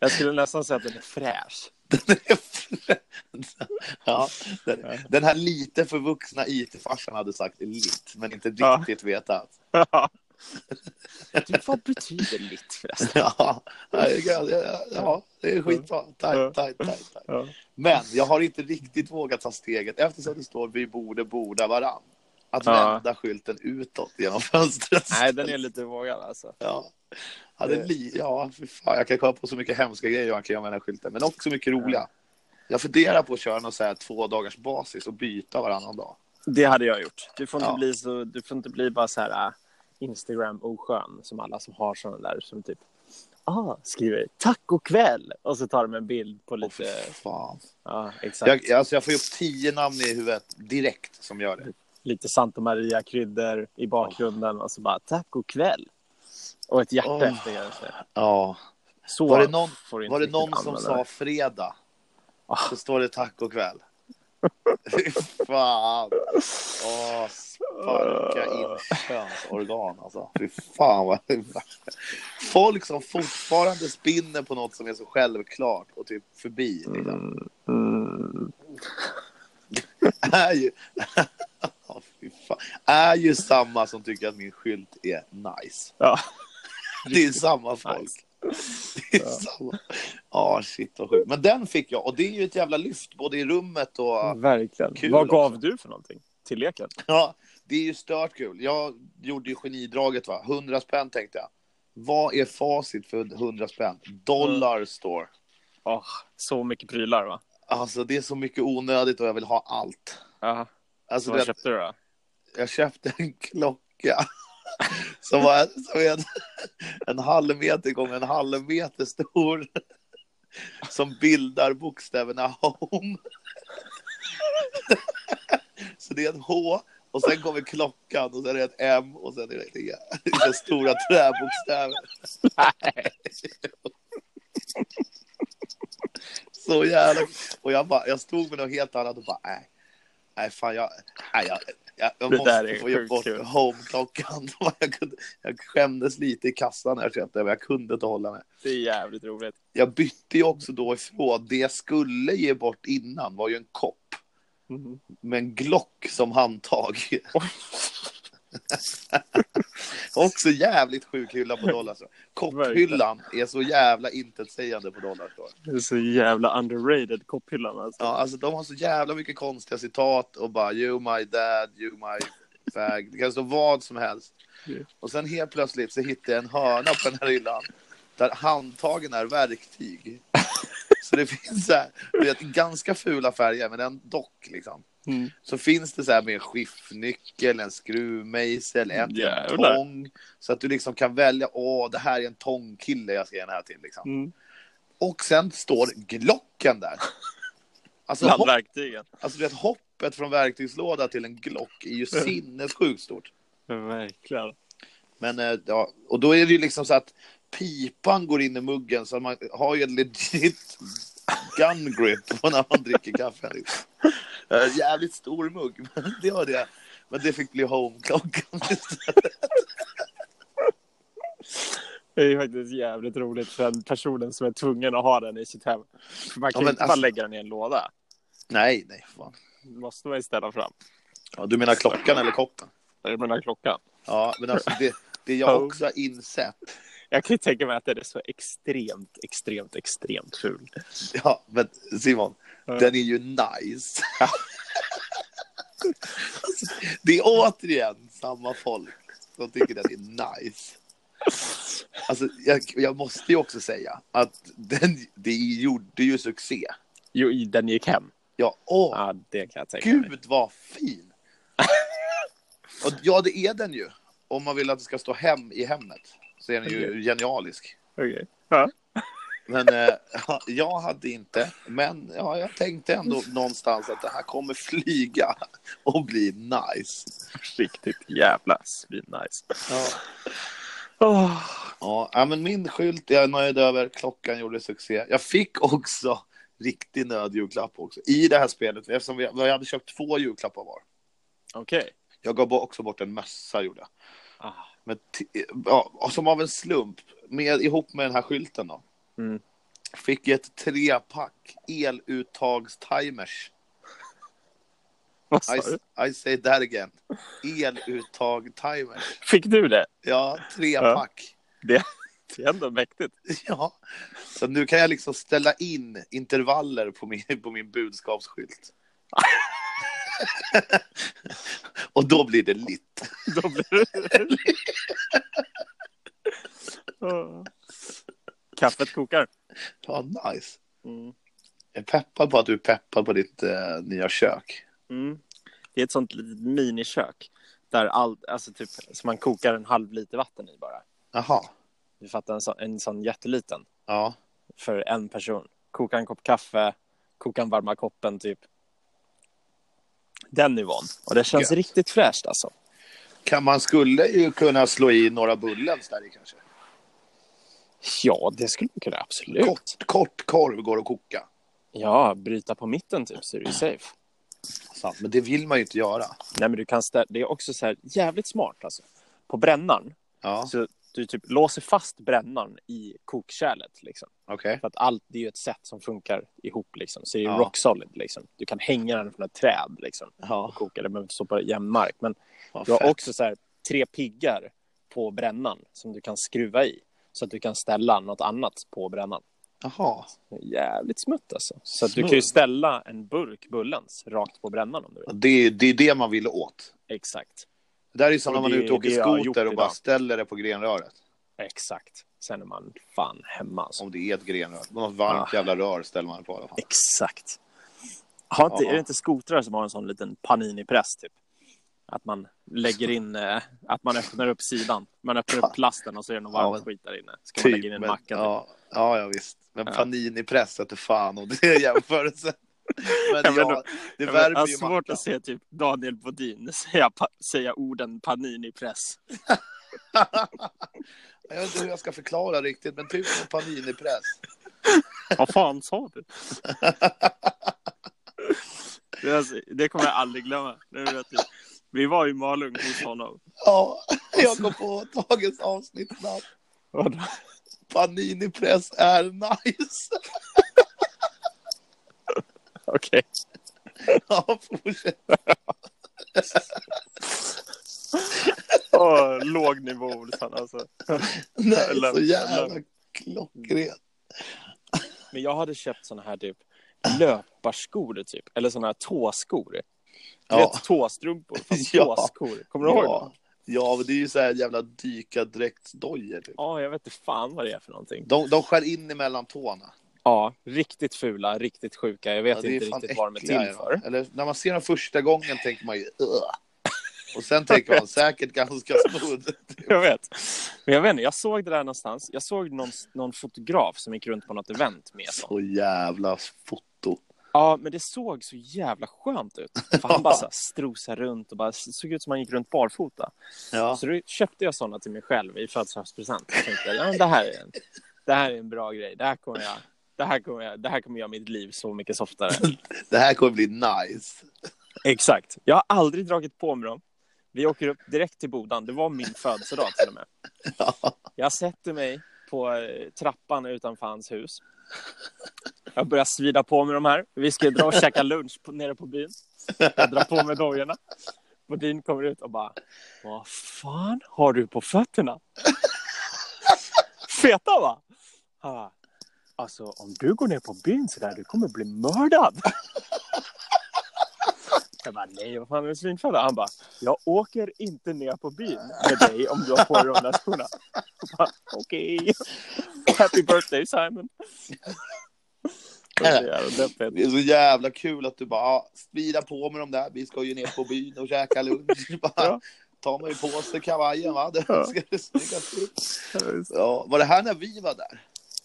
[SPEAKER 2] Jag skulle nästan säga att den är fräsch.
[SPEAKER 1] Den, är... ja, den, den här lite förvuxna it-farsan hade sagt lit, men inte
[SPEAKER 2] Ja.
[SPEAKER 1] riktigt vetat.
[SPEAKER 2] Typ, vad betyder litt förresten?
[SPEAKER 1] Ja, ja, ja, ja, det är skitbra.
[SPEAKER 2] Ja.
[SPEAKER 1] Tajt, tajt, tajt, tajt.
[SPEAKER 2] Ja.
[SPEAKER 1] Men jag har inte riktigt vågat ta steget eftersom det står vi borde borda varann. Att
[SPEAKER 2] Ja.
[SPEAKER 1] vända skylten utåt genom fönstret.
[SPEAKER 2] Nej, den är lite vågad alltså.
[SPEAKER 1] Ja. Ja, det är li... ja fy fan, jag kan komma på så mycket hemska grejer man kan göra med den här skylten, men också mycket roliga. Jag funderar på att köra någon så här två dagars basis och byta varannan dag.
[SPEAKER 2] Det hade jag gjort. Du får inte,
[SPEAKER 1] Ja.
[SPEAKER 2] bli, så, du får inte bli bara så här äh, Instagram-oskön som alla som har såna där som typ ah, skriver tack och kväll och så tar de en bild på
[SPEAKER 1] Åh, fy
[SPEAKER 2] lite...
[SPEAKER 1] fan.
[SPEAKER 2] Ja, exakt.
[SPEAKER 1] Jag, alltså, jag får ju upp tio namn i huvudet direkt som gör det.
[SPEAKER 2] lite Santa Maria-kryddor i bakgrunden och så bara tack och kväll. Och ett hjärta
[SPEAKER 1] Åh.
[SPEAKER 2] efter kanske.
[SPEAKER 1] Ja.
[SPEAKER 2] Så
[SPEAKER 1] Var det någon,
[SPEAKER 2] får du inte
[SPEAKER 1] var det
[SPEAKER 2] riktigt
[SPEAKER 1] någon som
[SPEAKER 2] använda
[SPEAKER 1] sa
[SPEAKER 2] det.
[SPEAKER 1] fredag?
[SPEAKER 2] Ah.
[SPEAKER 1] Så står det tack och kväll. Fy fan. Åh, sparka in könsorgan alltså. Fy fan vad Folk som fortfarande spinner på något som är så självklart och typ förbi. Liksom.
[SPEAKER 2] Mm,
[SPEAKER 1] Är, ju... Ja, fy fan. är ju samma som tycker att min skylt är nice.
[SPEAKER 2] ja.
[SPEAKER 1] Det är samma folk. Det är samma. Ja, shit vad sjukt. Men den fick jag och det är ju ett jävla lyft både i rummet och
[SPEAKER 2] Mm. Verkligen.
[SPEAKER 1] Kul
[SPEAKER 2] Vad gav
[SPEAKER 1] också.
[SPEAKER 2] du för någonting till leken?
[SPEAKER 1] Ja, det är ju stört kul. Jag gjorde ju genidraget, va? 100 spänn tänkte jag. Vad är facit för 100 spänn?
[SPEAKER 2] Mm.
[SPEAKER 1] Dollar store.
[SPEAKER 2] Åh, så mycket prylar va?
[SPEAKER 1] Alltså, det är så mycket onödigt och jag vill ha allt.
[SPEAKER 2] Ja.
[SPEAKER 1] Alltså,
[SPEAKER 2] Vad
[SPEAKER 1] du vet,
[SPEAKER 2] köpte du då?
[SPEAKER 1] jag köpte en klocka som var som är en, en halv meter gånger en halv meter stor som bildar bokstäverna home. Så det är ett H Och sen kommer klockan och sen är det ett M och sen är det inga, inga stora träbokstäver. Så jävla... Och jag, bara, jag stod med något helt annat och bara nej. Nej fan jag... Nej, jag jag, jag
[SPEAKER 2] Det där
[SPEAKER 1] måste
[SPEAKER 2] är
[SPEAKER 1] få ge
[SPEAKER 2] sjukt
[SPEAKER 1] bort
[SPEAKER 2] kul.
[SPEAKER 1] home-klockan. Jag, kunde, jag skämdes lite i kassan här kände jag, men jag kunde inte hålla mig.
[SPEAKER 2] Det är jävligt roligt.
[SPEAKER 1] Jag bytte ju också då ifrån, det jag skulle ge bort innan var ju en kopp
[SPEAKER 2] Mm.
[SPEAKER 1] med en Glock som handtag. Också jävligt sjuk hylla på Dollarstore. Kopphyllan är så jävla intetsägande på Dollarstore.
[SPEAKER 2] Det är så jävla underrated kopphyllan alltså.
[SPEAKER 1] Ja, alltså de har så jävla mycket konstiga citat och bara you my dad, you my fag. Det kan stå vad som helst.
[SPEAKER 2] Mm.
[SPEAKER 1] Och sen helt plötsligt så hittar jag en hörna på den här hyllan där handtagen är verktyg. Så det finns så här, du vet, ganska fula färger, men en dock liksom.
[SPEAKER 2] Mm.
[SPEAKER 1] Så finns det så här med en skiftnyckel, en skruvmejsel, en
[SPEAKER 2] Jävlar.
[SPEAKER 1] tång. Så att du liksom kan välja, åh, det här är en tångkille jag ska ge den här till. Liksom.
[SPEAKER 2] Mm.
[SPEAKER 1] Och sen står Glocken där. Alltså,
[SPEAKER 2] Bland
[SPEAKER 1] hopp,
[SPEAKER 2] verktygen.
[SPEAKER 1] alltså du vet, hoppet från verktygslåda till en Glock är ju sinnessjukt stort.
[SPEAKER 2] Verkligen.
[SPEAKER 1] Men, eh, ja, och då är det ju liksom så att pipan går in i muggen så att man har ju en legit gun grip på när man dricker kaffe. liksom. Eh, Jävligt stor mugg, men det var det. Men det fick bli homeklockan istället.
[SPEAKER 2] Det är ju faktiskt jävligt roligt för den personen som är tvungen att ha den i sitt hem. Man kan
[SPEAKER 1] men
[SPEAKER 2] ju inte bara
[SPEAKER 1] alltså-
[SPEAKER 2] lägga den i en låda.
[SPEAKER 1] Nej, nej, fan.
[SPEAKER 2] Det måste man ju ställa fram.
[SPEAKER 1] Ja, du menar klockan eller koppen?
[SPEAKER 2] Jag menar klockan.
[SPEAKER 1] Ja, men alltså det, det jag också har insett
[SPEAKER 2] Jag kan ju tänka mig att den är så extremt, extremt, extremt ful.
[SPEAKER 1] Ja, men Simon,
[SPEAKER 2] Ja.
[SPEAKER 1] den är ju nice. det är återigen samma folk som tycker den är nice. Alltså, jag, jag måste ju också säga att den, det gjorde ju succé.
[SPEAKER 2] Jo, i- den gick hem.
[SPEAKER 1] Ja, åh,
[SPEAKER 2] Ja, det kan jag tänka mig.
[SPEAKER 1] gud vad fin! Och, ja, det är den ju. Om man vill att det ska stå hem i hemmet så är den ju genialisk.
[SPEAKER 2] Okej. Ja.
[SPEAKER 1] Men eh, jag hade inte. Men ja, jag tänkte ändå någonstans att det här kommer flyga och bli nice.
[SPEAKER 2] Riktigt jävla svinnice.
[SPEAKER 1] Ja,
[SPEAKER 2] Oh.
[SPEAKER 1] ja, ja, men min skylt är jag nöjd över. Klockan gjorde succé. Jag fick också riktig nödjulklapp också i det här spelet eftersom vi, jag hade köpt två julklappar var.
[SPEAKER 2] Okej.
[SPEAKER 1] Jag gav också bort en mössa gjorde jag.
[SPEAKER 2] Ah.
[SPEAKER 1] Men t- ja, och som av en slump, med, ihop med den här skylten då.
[SPEAKER 2] Mm.
[SPEAKER 1] Fick jag ett trepack eluttagstimers.
[SPEAKER 2] Vad
[SPEAKER 1] I,
[SPEAKER 2] sa du?
[SPEAKER 1] I say that again. Eluttag timer.
[SPEAKER 2] Fick du det?
[SPEAKER 1] Ja, tre
[SPEAKER 2] Ja.
[SPEAKER 1] pack.
[SPEAKER 2] Det, det är ändå mäktigt.
[SPEAKER 1] Ja. Så nu kan jag liksom ställa in intervaller på min, på min budskapsskylt. Och då blir det litt.
[SPEAKER 2] Då blir det... Ah. Kaffet kokar.
[SPEAKER 1] Ja, nice.
[SPEAKER 2] Mm.
[SPEAKER 1] Jag är peppad på att du är peppad på ditt eh, nya kök.
[SPEAKER 2] Mm. Det är ett sånt litet minikök. Där all, alltså typ, så man kokar en halv liter vatten i bara.
[SPEAKER 1] Jaha.
[SPEAKER 2] Du fattar, en sån, en sån jätteliten.
[SPEAKER 1] Ja.
[SPEAKER 2] För en person. Koka en kopp kaffe, koka en varma koppen typ. Den nivån. Och det känns
[SPEAKER 1] Gött.
[SPEAKER 2] riktigt fräscht alltså.
[SPEAKER 1] Kan man skulle ju kunna slå i några bullens där i kanske.
[SPEAKER 2] Ja, det skulle man kunna absolut.
[SPEAKER 1] Kort, kort korv går att koka.
[SPEAKER 2] Ja, bryta på mitten typ så är du safe.
[SPEAKER 1] Sant, Men det vill man ju inte göra.
[SPEAKER 2] Nej, men du kan stä- det är också så här jävligt smart alltså. På brännaren,
[SPEAKER 1] Ja,
[SPEAKER 2] så du typ låser fast brännaren i kokkärlet liksom.
[SPEAKER 1] okej.
[SPEAKER 2] För att allt, det är ju ett sätt som funkar ihop liksom. Så det är
[SPEAKER 1] Ja.
[SPEAKER 2] ju rock solid liksom. Du kan hänga den från ett träd liksom.
[SPEAKER 1] Ja,
[SPEAKER 2] Och koka, det behöver inte stå på jämn mark. Men
[SPEAKER 1] vad
[SPEAKER 2] du har
[SPEAKER 1] fett.
[SPEAKER 2] också så här tre piggar på brännan som du kan skruva i. Så att du kan ställa något annat på brännan.
[SPEAKER 1] Jaha.
[SPEAKER 2] Jävligt smutt alltså. Så att du
[SPEAKER 1] Smutt.
[SPEAKER 2] kan ju ställa en burk Bullens rakt på brännan om du vill.
[SPEAKER 1] Det är, det är det man vill åt.
[SPEAKER 2] Exakt.
[SPEAKER 1] Det där är som när man
[SPEAKER 2] Det
[SPEAKER 1] är
[SPEAKER 2] är
[SPEAKER 1] ute och åker
[SPEAKER 2] det jag har gjort
[SPEAKER 1] skoter och bara
[SPEAKER 2] idag.
[SPEAKER 1] ställer det på grenröret.
[SPEAKER 2] Exakt. Sen är man fan hemma alltså.
[SPEAKER 1] Om det är ett grenrör. Något varmt
[SPEAKER 2] Ah.
[SPEAKER 1] jävla rör ställer man det på i alla fall.
[SPEAKER 2] Exakt. Har inte,
[SPEAKER 1] Ja.
[SPEAKER 2] Är det inte skotrar som har en sån liten panini-press typ? Att man lägger in, eh, att man öppnar upp sidan. Man öppnar upp plasten och så är det något
[SPEAKER 1] Ja,
[SPEAKER 2] varmt
[SPEAKER 1] men-
[SPEAKER 2] skit där inne. Ska man lägga in en
[SPEAKER 1] men,
[SPEAKER 2] macka? Typ.
[SPEAKER 1] ja, ja, ja, visst. Men
[SPEAKER 2] Ja.
[SPEAKER 1] Panini-press vete fan om det är jämförelsen. Men
[SPEAKER 2] Jag menar-
[SPEAKER 1] ja, det
[SPEAKER 2] Jag
[SPEAKER 1] värmer
[SPEAKER 2] har
[SPEAKER 1] ju
[SPEAKER 2] svårt
[SPEAKER 1] Mackan.
[SPEAKER 2] att se typ Daniel Bodin säga, pa- säga orden panini press.
[SPEAKER 1] Jag vet inte hur jag ska förklara riktigt, men typ som paninipress.
[SPEAKER 2] Vad fan sa du? Det, är alltså, det kommer jag aldrig glömma. Det är rätt. Vi var i Malung hos honom.
[SPEAKER 1] Ja, jag kom på dagens avsnittsnamn.
[SPEAKER 2] Och då-
[SPEAKER 1] Paninipress är nice.
[SPEAKER 2] Okej.
[SPEAKER 1] Ja, fortsätt.
[SPEAKER 2] Åh, Låg nivå, Olsson. Alltså.
[SPEAKER 1] Nej,
[SPEAKER 2] Eller-
[SPEAKER 1] så jävla klockrent.
[SPEAKER 2] Men jag hade köpt såna här typ löparskor, typ. eller såna här tåskor. Du
[SPEAKER 1] Ja.
[SPEAKER 2] vet, tåstrumpor, fast
[SPEAKER 1] Ja.
[SPEAKER 2] tåskor. Kommer du ihåg dem?
[SPEAKER 1] Ja. ja, men det är ju så här jävla dykardräktsdojor. Typ.
[SPEAKER 2] Ja, jag vet inte fan vad det är för någonting.
[SPEAKER 1] De, de skär in emellan tårna.
[SPEAKER 2] Ja, riktigt fula, riktigt sjuka. Jag vet
[SPEAKER 1] Ja, det är
[SPEAKER 2] inte
[SPEAKER 1] fan
[SPEAKER 2] riktigt vad de är
[SPEAKER 1] äckliga
[SPEAKER 2] till
[SPEAKER 1] är de.
[SPEAKER 2] för.
[SPEAKER 1] Eller när man ser dem första gången tänker man ju "Ugh." Och sen tänker man säkert ganska smudd.
[SPEAKER 2] Jag vet. Men jag vet inte, jag såg det där någonstans. Jag såg någon, någon fotograf som gick runt på något event med sånt.
[SPEAKER 1] Så jävla foto.
[SPEAKER 2] Ja, men det såg så jävla skönt ut. För han bara så här strosade runt och bara det såg ut som han gick runt barfota.
[SPEAKER 1] Ja.
[SPEAKER 2] Så då köpte jag sådana till mig själv i födelsedagspresent. Jag tänkte, ja, men det, här är en, det här är en bra grej. Det här kommer jag... Det här, kommer jag, det här kommer göra mitt liv så mycket softare.
[SPEAKER 1] Det här kommer bli nice.
[SPEAKER 2] Exakt. Jag har aldrig dragit på mig dem. Vi åker upp direkt till Bodan. Det var min födelsedag till och med.
[SPEAKER 1] Ja.
[SPEAKER 2] Jag sätter mig på eh, trappan utanför hans hus. Jag börjar svida på med de här. Vi ska dra och käka lunch på, nere på byn. Jag drar på mig dojorna. Bodin kommer ut och bara Vad fan har du på fötterna? Feta va? Han bara, Alltså om du går ner på byn så där du kommer bli mördad. Jag bara nej vad fan är du svinfödd? Han bara jag åker inte ner på byn med dig om du har på dig de där skorna. Jag bara, Okej. Happy birthday Simon. Det är så jävla deppigt.
[SPEAKER 1] Det är så jävla kul att du bara "Ja, spira på med de där. Vi ska ju ner på byn och käka lunch. Bara,
[SPEAKER 2] Ja.
[SPEAKER 1] Ta mig på sig kavajen va. Det
[SPEAKER 2] Ja.
[SPEAKER 1] ska det snyggas till. ja. Var det här när vi var där?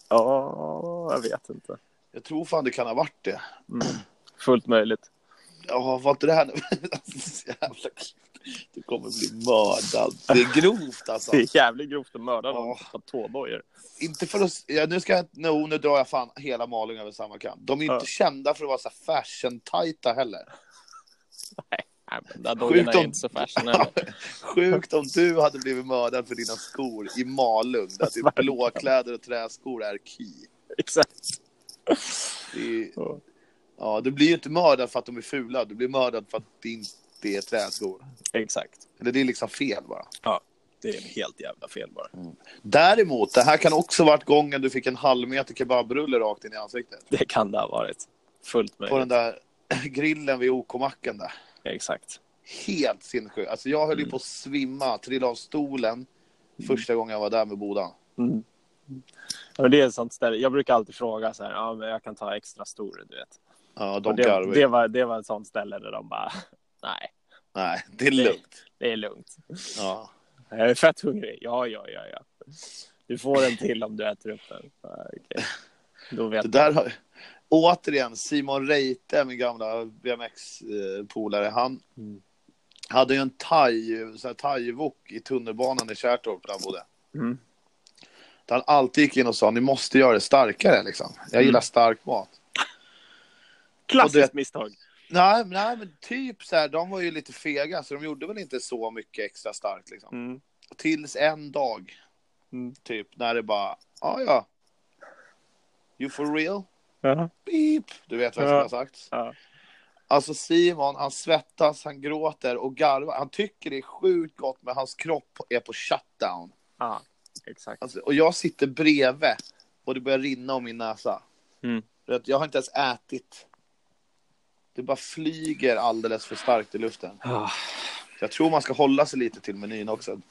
[SPEAKER 2] Ja, jag vet inte.
[SPEAKER 1] Jag tror fan det kan ha varit det.
[SPEAKER 2] Mm. Fullt möjligt.
[SPEAKER 1] Ja, var inte det här nu? Alltså, så jävla kul. Du kommer bli mördad. Det är grovt alltså.
[SPEAKER 2] Det är jävligt grovt att mörda någon
[SPEAKER 1] Ja.
[SPEAKER 2] på tådojor.
[SPEAKER 1] Inte för att... Ja, nu ska jag... No, nu drar jag fan hela Malung över samma kam. De är inte
[SPEAKER 2] Ja.
[SPEAKER 1] kända för att vara så här fashion-tajta heller.
[SPEAKER 2] Nej, men de där dojorna
[SPEAKER 1] om-
[SPEAKER 2] är inte så fashion heller.
[SPEAKER 1] Sjukt om du hade blivit mördad för dina skor i Malung. Där typ blåkläder och träskor är key.
[SPEAKER 2] Exakt.
[SPEAKER 1] Det är,
[SPEAKER 2] Ja.
[SPEAKER 1] ja, du blir ju inte mördad för att de är fula. Du blir mördad för att det inte är träskor.
[SPEAKER 2] Exakt.
[SPEAKER 1] Eller det är liksom fel bara.
[SPEAKER 2] Det är helt jävla fel bara.
[SPEAKER 1] Mm. Däremot, det här kan också varit gången du fick en halvmeter kebabrulle rakt in i ansiktet.
[SPEAKER 2] Det kan det ha varit. Fullt möjligt.
[SPEAKER 1] På den där grillen vid OK-macken där.
[SPEAKER 2] Exakt.
[SPEAKER 1] Helt sinnessjukt. Alltså jag höll
[SPEAKER 2] Mm.
[SPEAKER 1] ju på att svimma, trilla av stolen första gången jag var där med Bodan.
[SPEAKER 2] Mm. Ja, men det är ett sånt ställe. Jag brukar alltid fråga så här, ja, men jag kan ta extra stor, du vet.
[SPEAKER 1] Ja,
[SPEAKER 2] Och
[SPEAKER 1] de
[SPEAKER 2] det,
[SPEAKER 1] garvar
[SPEAKER 2] det,
[SPEAKER 1] ju.
[SPEAKER 2] var, det var ett sånt ställe där de bara, nej,
[SPEAKER 1] Nej, det är
[SPEAKER 2] det-
[SPEAKER 1] lugnt.
[SPEAKER 2] det är lugnt.
[SPEAKER 1] Ja.
[SPEAKER 2] Jag är fett hungrig. Ja, ja, ja, ja. Du får en till om du äter upp den. Ja, okej. Då vet
[SPEAKER 1] Det
[SPEAKER 2] jag.
[SPEAKER 1] där har... Återigen, Simon Reite, min gamla BMX-polare, han
[SPEAKER 2] Mm.
[SPEAKER 1] hade ju en thai- sån här thai-wok i tunnelbanan i Kärrtorp där han bodde.
[SPEAKER 2] Mm.
[SPEAKER 1] Där han alltid gick in och sa ni måste göra det starkare liksom. Jag gillar
[SPEAKER 2] Mm.
[SPEAKER 1] stark mat.
[SPEAKER 2] Klassiskt misstag.
[SPEAKER 1] Nej, men- nej men typ så här, de var ju lite fega så de gjorde väl inte så mycket extra starkt liksom.
[SPEAKER 2] Mm.
[SPEAKER 1] Tills en dag,
[SPEAKER 2] Mm.
[SPEAKER 1] typ, när det bara, ja ja. You for real?
[SPEAKER 2] Ja.
[SPEAKER 1] Beep. Du vet vad jag
[SPEAKER 2] Ja.
[SPEAKER 1] skulle ha sagt.
[SPEAKER 2] Ja.
[SPEAKER 1] Alltså Simon, han svettas, han gråter och garvar. Han tycker det är sjukt gott men hans kropp är på shutdown.
[SPEAKER 2] Ja, exakt.
[SPEAKER 1] Alltså, och jag sitter bredvid och det börjar rinna om min näsa.
[SPEAKER 2] Mm.
[SPEAKER 1] Du vet, Jag har inte ens ätit. Det bara flyger alldeles för starkt i luften.
[SPEAKER 2] Ah.
[SPEAKER 1] Jag tror man ska hålla sig lite till menyn också.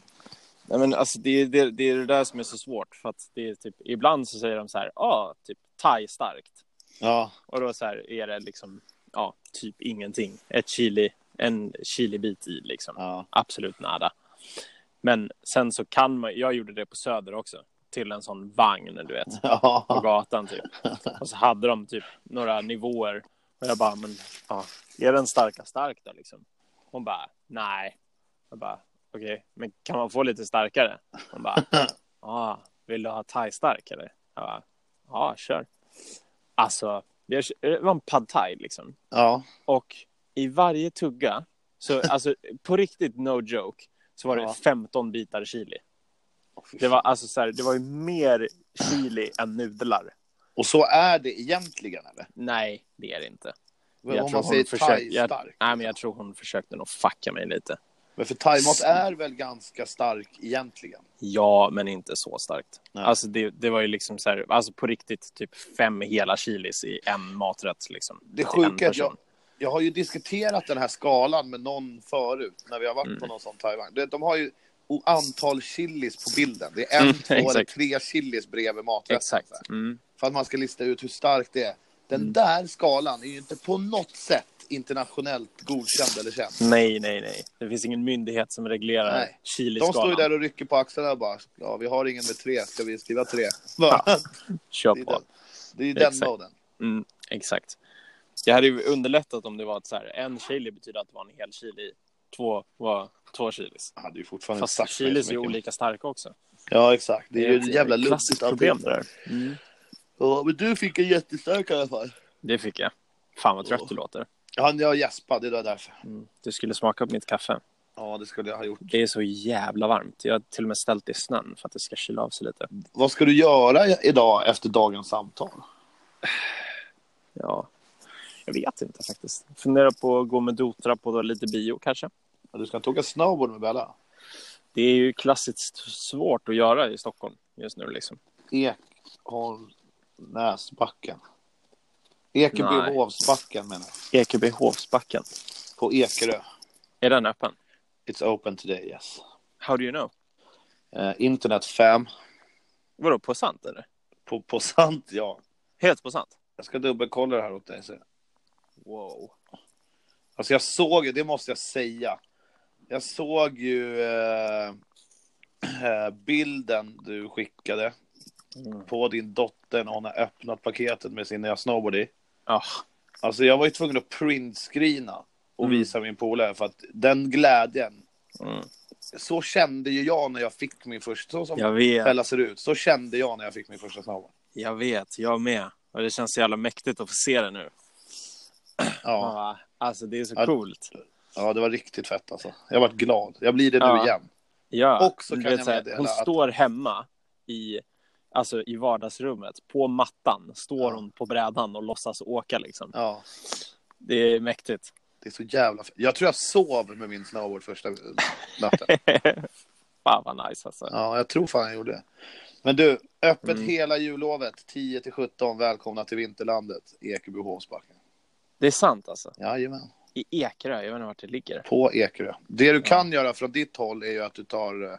[SPEAKER 2] Nej, men alltså, det, är- det, är- det är det där som är så svårt. För att det är typ, ibland så säger de så här, ja, ah, typ thai starkt.
[SPEAKER 1] Ja.
[SPEAKER 2] Och då så här är det liksom, ja, typ ingenting. Ett chili, en chilibit i liksom.
[SPEAKER 1] ja.
[SPEAKER 2] absolut nada. Men sen så kan man, jag gjorde det på Söder också, till en sån vagn, du vet, på
[SPEAKER 1] ja.
[SPEAKER 2] gatan typ. Och så hade de typ några nivåer Och jag bara, men ja, är den starka stark då liksom? Hon bara, nej. Jag bara, okej, men kan man få lite starkare? Hon bara, ja, vill du ha thai stark eller? Jag bara, ja, kör. Alltså, jag, det var en pad thai liksom.
[SPEAKER 1] Ja.
[SPEAKER 2] Och i varje tugga, så alltså på riktigt no joke, så var det
[SPEAKER 1] Ja.
[SPEAKER 2] 15 bitar chili.
[SPEAKER 1] Åh, fy
[SPEAKER 2] Det var
[SPEAKER 1] fan.
[SPEAKER 2] alltså så här, det var ju mer chili än nudlar.
[SPEAKER 1] Och så är det egentligen, eller?
[SPEAKER 2] Nej, det är det inte.
[SPEAKER 1] Men om
[SPEAKER 2] tror
[SPEAKER 1] man
[SPEAKER 2] hon
[SPEAKER 1] säger liksom.
[SPEAKER 2] försöker- jag,
[SPEAKER 1] thai-stark.
[SPEAKER 2] nej, men jag tror hon försökte nog fucka mig lite.
[SPEAKER 1] Men för thaimat är väl ganska stark egentligen?
[SPEAKER 2] Ja, men inte så starkt.
[SPEAKER 1] Nej.
[SPEAKER 2] Alltså det, det var ju liksom så här, alltså på riktigt typ fem hela chilis i en maträtt liksom.
[SPEAKER 1] Det
[SPEAKER 2] Till en
[SPEAKER 1] sjuka är att
[SPEAKER 2] person.
[SPEAKER 1] jag, jag har ju diskuterat den här skalan med någon förut när vi har varit på
[SPEAKER 2] Mm.
[SPEAKER 1] någon sån Taiwan. Du vet, De har ju o- antal chilis på bilden. Det är en,
[SPEAKER 2] Mm,
[SPEAKER 1] två eller
[SPEAKER 2] exakt.
[SPEAKER 1] tre chilis bredvid maträtten.
[SPEAKER 2] Exakt.
[SPEAKER 1] så här.
[SPEAKER 2] Mm.
[SPEAKER 1] För att man ska lista ut hur starkt det är. Den där skalan är ju inte på något sätt internationellt godkänd eller känd.
[SPEAKER 2] Nej, nej, nej. Det finns ingen myndighet som reglerar
[SPEAKER 1] Nej.
[SPEAKER 2] chiliskalan.
[SPEAKER 1] De står ju där och rycker på axlarna och bara, ja vi har ingen med tre, ska vi skriva tre? Bara,
[SPEAKER 2] Kör
[SPEAKER 1] det är
[SPEAKER 2] på.
[SPEAKER 1] den, det är ju den
[SPEAKER 2] Exakt.
[SPEAKER 1] moden.
[SPEAKER 2] Mm, exakt. Jag hade ju underlättat om det var att så här, en chili betyder att det var en hel chili. Två var två chilis.
[SPEAKER 1] Jag hade ju fortfarande
[SPEAKER 2] Fast
[SPEAKER 1] sagt
[SPEAKER 2] chilis
[SPEAKER 1] så
[SPEAKER 2] är ju
[SPEAKER 1] mycket.
[SPEAKER 2] olika starka också.
[SPEAKER 1] Ja exakt, det är ju
[SPEAKER 2] ett
[SPEAKER 1] ett jävla
[SPEAKER 2] klassiskt
[SPEAKER 1] luddigt
[SPEAKER 2] problem
[SPEAKER 1] allting.
[SPEAKER 2] det där.
[SPEAKER 1] Ja, men du fick en jättestark i alla fall.
[SPEAKER 2] Det fick jag. Fan vad trött du låter.
[SPEAKER 1] Ja, jag gäspade, det var därför.
[SPEAKER 2] Du skulle smaka på mitt kaffe.
[SPEAKER 1] Ja, det skulle jag ha gjort.
[SPEAKER 2] Det är så jävla varmt. Jag har till och med ställt det i snön för att det ska kyla av sig lite.
[SPEAKER 1] Vad ska du göra i- idag efter dagens samtal?
[SPEAKER 2] Ja. Jag vet inte faktiskt. Funderar på att gå med Dotra på lite bio kanske.
[SPEAKER 1] Ja, Du ska inte åka snowboard med Bella?
[SPEAKER 2] Det är ju klassiskt svårt att göra i Stockholm just nu liksom.
[SPEAKER 1] Ekholmsnäsbacken. Ekebyhovsbacken menar jag.
[SPEAKER 2] E Ekebyhovsbacken.
[SPEAKER 1] På Ekerö.
[SPEAKER 2] Är den öppen?
[SPEAKER 1] It's open today, yes.
[SPEAKER 2] How do you know?
[SPEAKER 1] Eh, internet 5.
[SPEAKER 2] Vadå, på sant eller?
[SPEAKER 1] På, på sant, ja.
[SPEAKER 2] Helt på sant?
[SPEAKER 1] Jag ska dubbelkolla det här åt dig. sen.
[SPEAKER 2] Wow.
[SPEAKER 1] Alltså jag såg ju, det måste jag säga. Jag såg ju eh, eh, bilden du skickade
[SPEAKER 2] Mm.
[SPEAKER 1] på din dotter när hon har öppnat paketet med sin nya snowboard i.
[SPEAKER 2] Ah,
[SPEAKER 1] Alltså jag var ju tvungen att printscreena och
[SPEAKER 2] Mm.
[SPEAKER 1] visa min polare för att den glädjen,
[SPEAKER 2] mm.
[SPEAKER 1] så kände ju jag när jag fick min första, så som
[SPEAKER 2] Jag vet,
[SPEAKER 1] Fälla ser ut, så kände jag när jag fick min första snowboard.
[SPEAKER 2] jag vet, jag med. Och det känns så jävla mäktigt att få se det nu.
[SPEAKER 1] Ja.
[SPEAKER 2] Ja. Alltså det är så
[SPEAKER 1] Ja.
[SPEAKER 2] coolt.
[SPEAKER 1] ja, det var riktigt fett alltså. Jag vart glad. Jag blir det nu
[SPEAKER 2] Ja.
[SPEAKER 1] igen.
[SPEAKER 2] Ja.
[SPEAKER 1] Och så
[SPEAKER 2] du
[SPEAKER 1] kan
[SPEAKER 2] vet
[SPEAKER 1] jag
[SPEAKER 2] så här,
[SPEAKER 1] meddela
[SPEAKER 2] Hon
[SPEAKER 1] att-
[SPEAKER 2] står hemma i, alltså, i vardagsrummet, på mattan, står
[SPEAKER 1] Ja.
[SPEAKER 2] hon på brädan och låtsas åka liksom.
[SPEAKER 1] Ja,
[SPEAKER 2] Det är mäktigt.
[SPEAKER 1] det är så jävla fett. Jag tror jag sov med min snowboard första natten.
[SPEAKER 2] Fan vad nice alltså.
[SPEAKER 1] Ja, jag tror fan jag gjorde det. Men du, öppet
[SPEAKER 2] Mm.
[SPEAKER 1] hela jullovet 10 till 17. Välkomna till vinterlandet, Ekebyhovsbacken.
[SPEAKER 2] Det är sant alltså.
[SPEAKER 1] Jajamän.
[SPEAKER 2] I Ekerö, jag vet inte vart det ligger.
[SPEAKER 1] På Ekerö. Det du kan göra från ditt håll är ju att du tar eh,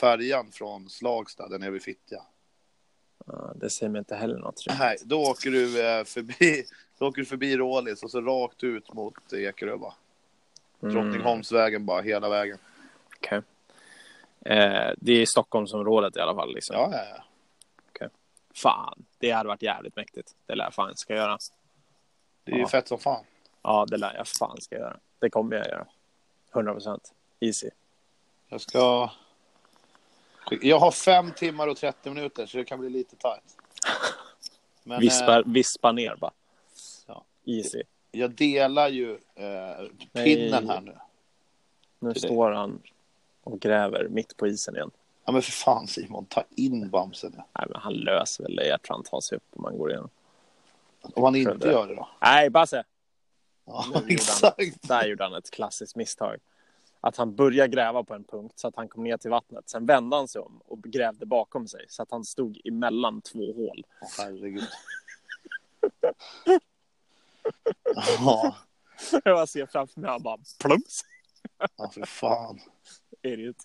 [SPEAKER 1] färjan från Slagsta, den är vid Fittja.
[SPEAKER 2] Ja, det säger mig inte heller något. tror jag.
[SPEAKER 1] Nej, då åker du eh, förbi, då åker du förbi Rålis och så rakt ut mot Ekerö bara. Drottningholmsvägen bara, hela vägen.
[SPEAKER 2] Mm, Okej. Eh, det är Stockholmsområdet i alla fall. Liksom.
[SPEAKER 1] Ja, ja, ja.
[SPEAKER 2] Fan, det hade varit jävligt mäktigt. Det lär jag fan ska göra.
[SPEAKER 1] Det är ju
[SPEAKER 2] Ja.
[SPEAKER 1] fett som fan.
[SPEAKER 2] Ja, det lär jag fan ska göra. Det kommer jag göra. 100 procent. Easy.
[SPEAKER 1] Jag ska... Jag har fem timmar och 30 minuter, så det kan bli lite tajt. Men, eh,
[SPEAKER 2] Vispa, vispa ner bara.
[SPEAKER 1] Ja.
[SPEAKER 2] Easy.
[SPEAKER 1] Jag delar ju eh, pinnen här nu.
[SPEAKER 2] Nu
[SPEAKER 1] det-
[SPEAKER 2] står han och gräver mitt på isen igen.
[SPEAKER 1] Ja men för fan Simon, ta in Bamsen. nu.
[SPEAKER 2] Nej, men han löser väl det. Jag tror han tar sig upp om man går igenom.
[SPEAKER 1] Om han inte
[SPEAKER 2] Kunde.
[SPEAKER 1] gör det då.
[SPEAKER 2] Nej, Basse!
[SPEAKER 1] Ja,
[SPEAKER 2] gjorde han.
[SPEAKER 1] exakt.
[SPEAKER 2] Där gjorde han ett klassiskt misstag. Att han började gräva på en punkt så att han kom ner till vattnet. Sen vände han sig om och grävde bakom sig så att han stod emellan två hål.
[SPEAKER 1] Åh, herregud. Ja,
[SPEAKER 2] Jag ser framför mig han bara plums.
[SPEAKER 1] ja, för fan.
[SPEAKER 2] Idiot.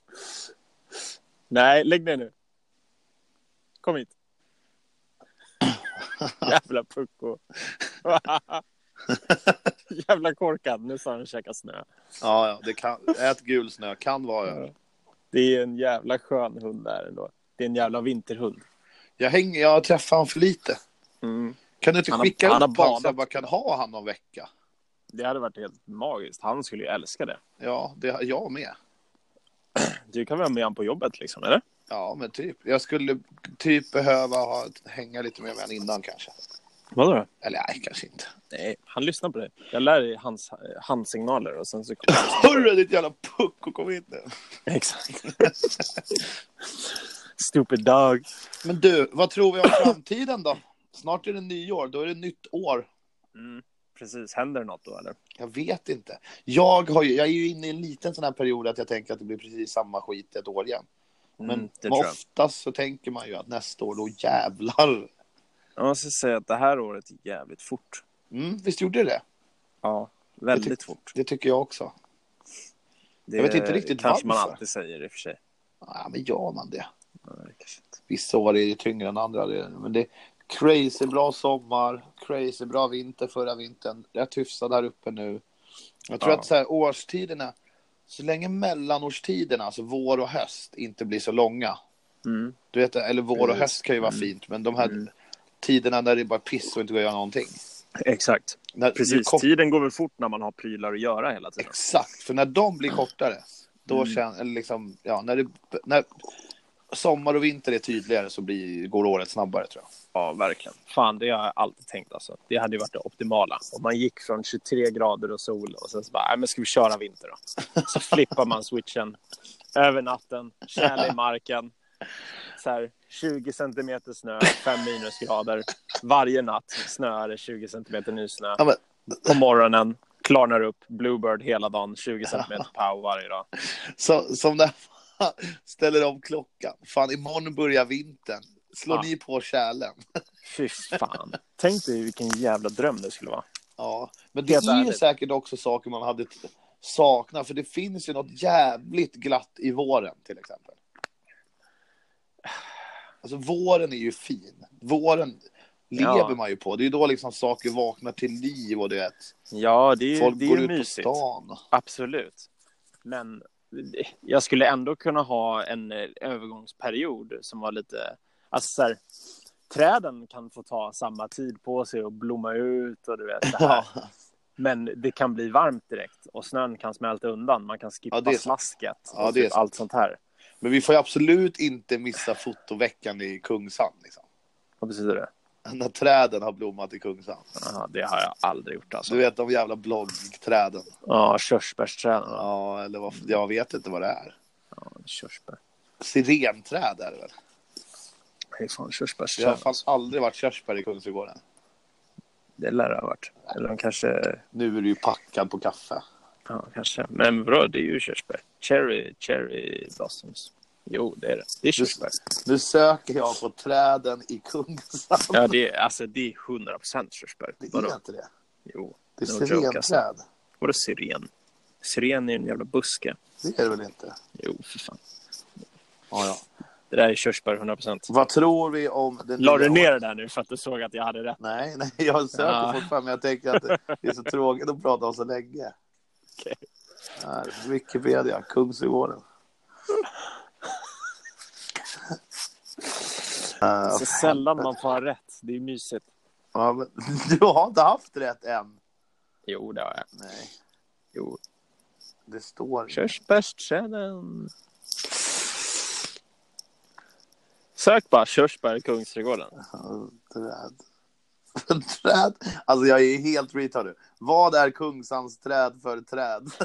[SPEAKER 2] Nej, lägg ner nu. Kom hit. Jävla pucko. Jävla korkad. Nu sa han och käka snö.
[SPEAKER 1] Ja, ja, det kan... Ät gul snö, kan vara jag.
[SPEAKER 2] Det är en jävla skön hund där ändå. Det är en jävla vinterhund. Mm.
[SPEAKER 1] Jag hänger, jag träffar han för lite. Kan du inte
[SPEAKER 2] Han har-
[SPEAKER 1] skicka
[SPEAKER 2] han har
[SPEAKER 1] upp honom så jag
[SPEAKER 2] banat.
[SPEAKER 1] bara kan ha han någon vecka?
[SPEAKER 2] Det hade varit helt magiskt. Han skulle ju älska det.
[SPEAKER 1] Ja, det, jag med.
[SPEAKER 2] Du kan vara med han på jobbet liksom, eller?
[SPEAKER 1] Ja, men typ. Jag skulle typ behöva ha, hänga lite mer med honom innan kanske.
[SPEAKER 2] Vadå?
[SPEAKER 1] Eller nej, kanske inte.
[SPEAKER 2] Nej, han lyssnar på dig. Jag lär dig hans handsignaler och sen så kommer han-
[SPEAKER 1] Hörru ditt jävla pucko, kom hit nu.
[SPEAKER 2] Exakt. Stupid dog.
[SPEAKER 1] Men du, vad tror vi om framtiden då? Snart är det nyår, då är det nytt år.
[SPEAKER 2] Mm, precis. Händer det något då, eller?
[SPEAKER 1] Jag vet inte. Jag, har ju, jag är ju inne i en liten sån här period att jag tänker att det blir precis samma skit ett år igen. Men
[SPEAKER 2] Mm, det tror jag.
[SPEAKER 1] oftast så tänker man ju att nästa år, då jävlar.
[SPEAKER 2] Jag måste säga att det här året gick jävligt fort.
[SPEAKER 1] Mm, visst gjorde det det?
[SPEAKER 2] Ja, väldigt
[SPEAKER 1] tyck-
[SPEAKER 2] fort.
[SPEAKER 1] Det tycker jag också.
[SPEAKER 2] Det
[SPEAKER 1] jag vet inte riktigt
[SPEAKER 2] kanske man
[SPEAKER 1] varför.
[SPEAKER 2] alltid säger i och för sig.
[SPEAKER 1] Ja, men gör man det?
[SPEAKER 2] Nej, kanske inte.
[SPEAKER 1] Vissa år är ju tyngre än andra. det- Men det är crazy bra sommar, crazy bra vinter förra vintern. Rätt hyfsad här uppe nu. Jag tror
[SPEAKER 2] Ja.
[SPEAKER 1] att så här, årstiderna, så länge mellanårstiderna, alltså vår och höst, inte blir så långa.
[SPEAKER 2] Mm.
[SPEAKER 1] Du vet, eller vår och
[SPEAKER 2] Precis.
[SPEAKER 1] höst kan ju vara fint, men de här
[SPEAKER 2] Mm.
[SPEAKER 1] tiderna när det är bara piss och inte går att göra någonting.
[SPEAKER 2] Exakt.
[SPEAKER 1] När, ju
[SPEAKER 2] Precis.
[SPEAKER 1] kort-
[SPEAKER 2] Tiden går väl fort när man har prylar att göra hela tiden.
[SPEAKER 1] Exakt, för när de blir kortare, då
[SPEAKER 2] Mm.
[SPEAKER 1] känns eller liksom, ja, när, det, när sommar och vinter är tydligare så blir, går året snabbare tror jag.
[SPEAKER 2] Ja, verkligen. Fan, det har jag alltid tänkt alltså. Det hade ju varit det optimala. Om man gick från 23 grader och sol och sen så bara, nej men ska vi köra vinter då? Så flippar man switchen över natten, tjäle i marken, så här 20 centimeter snö, 5 minusgrader. Varje natt snöar det 20 centimeter ny snö.
[SPEAKER 1] Ja, men,
[SPEAKER 2] På morgonen klarnar upp, bluebird hela dagen, 20 centimeter pow varje dag.
[SPEAKER 1] så, som när man ställer om klockan. Fan, imorgon börjar vintern. Slår
[SPEAKER 2] Ja.
[SPEAKER 1] ni på kärlen?
[SPEAKER 2] Fy fan. Tänk dig vilken jävla dröm det skulle vara.
[SPEAKER 1] Ja, men det
[SPEAKER 2] Helt
[SPEAKER 1] är ju
[SPEAKER 2] ärligt.
[SPEAKER 1] säkert också saker man hade t- saknat, för det finns ju något jävligt glatt i våren till exempel. Alltså våren är ju fin. Våren
[SPEAKER 2] Ja.
[SPEAKER 1] lever man ju på. Det är ju då liksom saker vaknar till liv och du vet,
[SPEAKER 2] Ja, det är ju,
[SPEAKER 1] folk
[SPEAKER 2] det är
[SPEAKER 1] går
[SPEAKER 2] ju
[SPEAKER 1] ut
[SPEAKER 2] mysigt.
[SPEAKER 1] på stan.
[SPEAKER 2] Absolut. Men jag skulle ändå kunna ha en eh, övergångsperiod som var lite... Alltså så här, träden kan få ta samma tid på sig och blomma ut och du vet det här.
[SPEAKER 1] Ja,
[SPEAKER 2] Men det kan bli varmt direkt och snön kan smälta undan. Man kan skippa
[SPEAKER 1] Ja, det är sant.
[SPEAKER 2] slasket och
[SPEAKER 1] Ja, det är
[SPEAKER 2] typ
[SPEAKER 1] sant.
[SPEAKER 2] allt sånt här.
[SPEAKER 1] men vi får ju absolut inte missa fotoveckan i Kungshamn. Liksom.
[SPEAKER 2] Vad betyder det?
[SPEAKER 1] När träden har blommat i Kungshamn.
[SPEAKER 2] Aha, det har jag aldrig gjort alltså.
[SPEAKER 1] Du vet de jävla bloggträden.
[SPEAKER 2] Ja, körsbärsträden. Ja.
[SPEAKER 1] Ja, eller vad, jag vet inte vad det är.
[SPEAKER 2] Körsbär.
[SPEAKER 1] Sirenträd är det väl?
[SPEAKER 2] Hej fan,
[SPEAKER 1] Det har
[SPEAKER 2] körsbärsträden.
[SPEAKER 1] fan aldrig varit körsbär i Kungsträdgården.
[SPEAKER 2] Det lär det ha varit. Eller de kanske
[SPEAKER 1] Nu är du ju packad på kaffe.
[SPEAKER 2] Ja, kanske. Men bra, det är ju körsbär. Cherry, cherry blossoms. Jo, det är det. Det är körsbär.
[SPEAKER 1] Nu söker jag på träden i Kungshamn.
[SPEAKER 2] Ja, det är, alltså, det är 100 procent körsbär.
[SPEAKER 1] Det är
[SPEAKER 2] Vadå?
[SPEAKER 1] inte det.
[SPEAKER 2] Jo.
[SPEAKER 1] Det är
[SPEAKER 2] No joke, alltså.
[SPEAKER 1] sirenträd.
[SPEAKER 2] Vadå siren? Siren är ju en jävla buske.
[SPEAKER 1] Det är det väl inte?
[SPEAKER 2] Jo, för fan.
[SPEAKER 1] Ja, ja.
[SPEAKER 2] Det där är körsbär 100 procent.
[SPEAKER 1] Vad tror vi om... Den
[SPEAKER 2] La du
[SPEAKER 1] nya-
[SPEAKER 2] ner det där nu för att du såg att jag hade rätt?
[SPEAKER 1] Nej, nej, jag söker
[SPEAKER 2] Ja.
[SPEAKER 1] fortfarande. Men jag tänker att det är så tråkigt att prata om så länge.
[SPEAKER 2] Okej.
[SPEAKER 1] Här, Wikipedia, Kungsträdgården. Uh,
[SPEAKER 2] Så sällan man får ha rätt. Det är mysigt.
[SPEAKER 1] ja, men, du har inte haft rätt än.
[SPEAKER 2] Jo, det har jag.
[SPEAKER 1] Nej,
[SPEAKER 2] Jo.
[SPEAKER 1] det står...
[SPEAKER 2] Körsbärsträden. Sök bara körsbär i Kungsträdgården.
[SPEAKER 1] Träd. träd? Alltså jag är helt retard nu. Vad är Kungshamns träd för träd?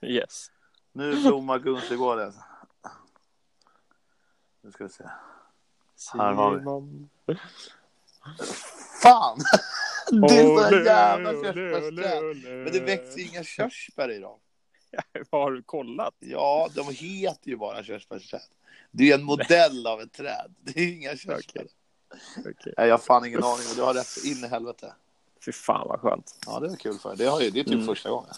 [SPEAKER 2] Yes.
[SPEAKER 1] Nu blommar Kungsträdgården. Nu ska vi se. Här har vi.
[SPEAKER 2] Simon.
[SPEAKER 1] Fan! Det är sådana
[SPEAKER 2] Olé,
[SPEAKER 1] jävla
[SPEAKER 2] olé,
[SPEAKER 1] körsbärsträd.
[SPEAKER 2] olé, olé.
[SPEAKER 1] Men det växer ju inga körsbär i dem.
[SPEAKER 2] Har du kollat?
[SPEAKER 1] Ja, de heter ju bara körsbärsträd. Det är ju en modell av ett träd. Det är ju inga körsbär.
[SPEAKER 2] Okay.
[SPEAKER 1] Nej, jag har fan ingen aning. men Du har rätt in i helvete.
[SPEAKER 2] Fy fan vad skönt.
[SPEAKER 1] Ja, det var kul för dig. Det, har ju, det är typ
[SPEAKER 2] Mm.
[SPEAKER 1] första gången.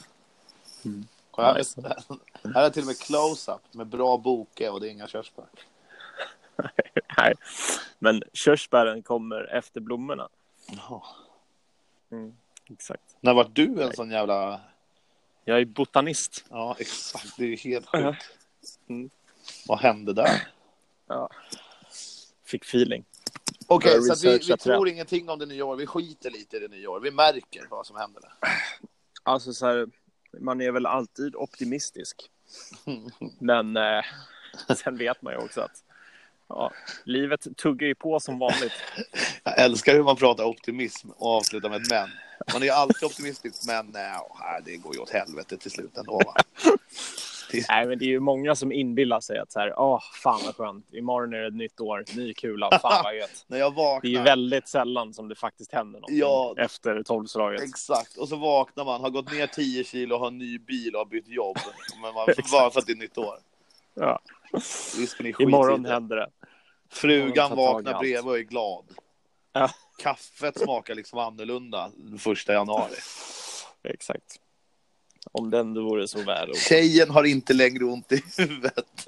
[SPEAKER 2] Mm.
[SPEAKER 1] Kolla, här,
[SPEAKER 2] Nice.
[SPEAKER 1] är, här är till och med close-up med bra boke och det är inga körsbär.
[SPEAKER 2] Nej. Men körsbären kommer efter blommorna. Exakt.
[SPEAKER 1] När var du en sån jävla...
[SPEAKER 2] Jag är botanist.
[SPEAKER 1] Ja, exakt. Det är ju helt
[SPEAKER 2] Ja.
[SPEAKER 1] sjukt.
[SPEAKER 2] Mm.
[SPEAKER 1] Vad hände där?
[SPEAKER 2] Ja. fick feeling.
[SPEAKER 1] Okej,
[SPEAKER 2] Börja
[SPEAKER 1] så att vi, vi
[SPEAKER 2] researcha
[SPEAKER 1] tror ingenting om det nya året. Vi skiter lite i det nya året. Vi märker vad som händer. där.
[SPEAKER 2] Alltså så här, man är väl alltid optimistisk. Men eh, sen vet man ju också att ja, livet tuggar ju på som vanligt.
[SPEAKER 1] Jag älskar hur man pratar optimism och avslutar med ett men. Man är alltid optimistisk, men nej, det går ju åt helvete till slut ändå. Va?
[SPEAKER 2] Nej, men det är ju många som inbillar sig att så här, åh, fan vad skönt, imorgon är det ett nytt år, ny kula, fan vad gött.
[SPEAKER 1] När jag
[SPEAKER 2] Det är ju
[SPEAKER 1] vaknar,
[SPEAKER 2] väldigt sällan som det faktiskt händer någonting
[SPEAKER 1] Ja.
[SPEAKER 2] efter tolvslaget.
[SPEAKER 1] exakt, och så vaknar man, har gått ner 10 kilo, har en ny bil och har bytt jobb. Men man, bara för att det är nytt år.
[SPEAKER 2] Ja.
[SPEAKER 1] Visst, men det är skit i
[SPEAKER 2] Imorgon
[SPEAKER 1] det.
[SPEAKER 2] händer det. Imorgon
[SPEAKER 1] Frugan
[SPEAKER 2] tar tag i
[SPEAKER 1] vaknar
[SPEAKER 2] allt.
[SPEAKER 1] bredvid och är glad.
[SPEAKER 2] Ja.
[SPEAKER 1] Kaffet smakar liksom annorlunda den första januari.
[SPEAKER 2] Exakt. Om det ändå vore så väl.
[SPEAKER 1] Tjejen har inte längre ont i huvudet.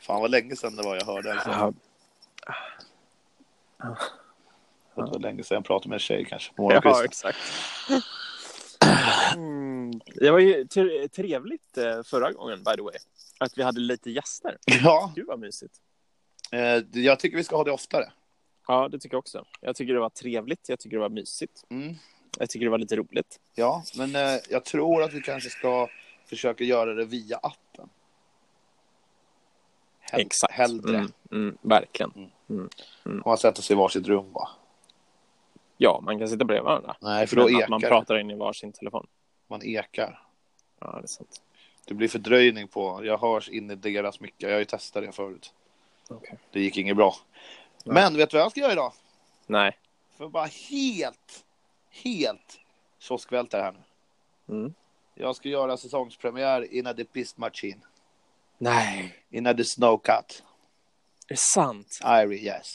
[SPEAKER 1] Fan vad länge sedan det var jag hörde. Alltså.
[SPEAKER 2] Ja,
[SPEAKER 1] Det var länge sedan jag pratade med en tjej kanske. På
[SPEAKER 2] ja
[SPEAKER 1] morgonkvisten.
[SPEAKER 2] exakt. Mm. Det var ju tre- trevligt eh, förra gången, by the way. Att vi hade lite gäster.
[SPEAKER 1] ja,
[SPEAKER 2] Gud vad mysigt.
[SPEAKER 1] eh, jag tycker vi ska ha det oftare.
[SPEAKER 2] Ja, det tycker jag också. Jag tycker det var trevligt, jag tycker det var mysigt.
[SPEAKER 1] Mm.
[SPEAKER 2] Jag tycker det var lite roligt.
[SPEAKER 1] Ja, men eh, jag tror att vi kanske ska försöka göra det via appen. Hell-
[SPEAKER 2] Exakt.
[SPEAKER 1] Hellre.
[SPEAKER 2] Mm, mm, verkligen.
[SPEAKER 1] Om man sätter sig i varsitt rum bara.
[SPEAKER 2] Ja, man kan sitta bredvid varandra.
[SPEAKER 1] Nej, för då
[SPEAKER 2] Men
[SPEAKER 1] ekar
[SPEAKER 2] att man pratar in i varsin telefon.
[SPEAKER 1] man ekar.
[SPEAKER 2] Ja, det är sant.
[SPEAKER 1] Det blir fördröjning på. Jag hörs in i deras mycket. Jag har ju testat det förut.
[SPEAKER 2] Okej.
[SPEAKER 1] Det gick inget bra.
[SPEAKER 2] Nej.
[SPEAKER 1] Men vet du vad jag ska göra idag?
[SPEAKER 2] Nej.
[SPEAKER 1] För bara helt, helt kioskvältare här nu.
[SPEAKER 2] Mm.
[SPEAKER 1] Jag ska göra säsongspremiär innan det pist machine.
[SPEAKER 2] Nej.
[SPEAKER 1] Innan det snow cut.
[SPEAKER 2] Är det sant?
[SPEAKER 1] Irie, yes.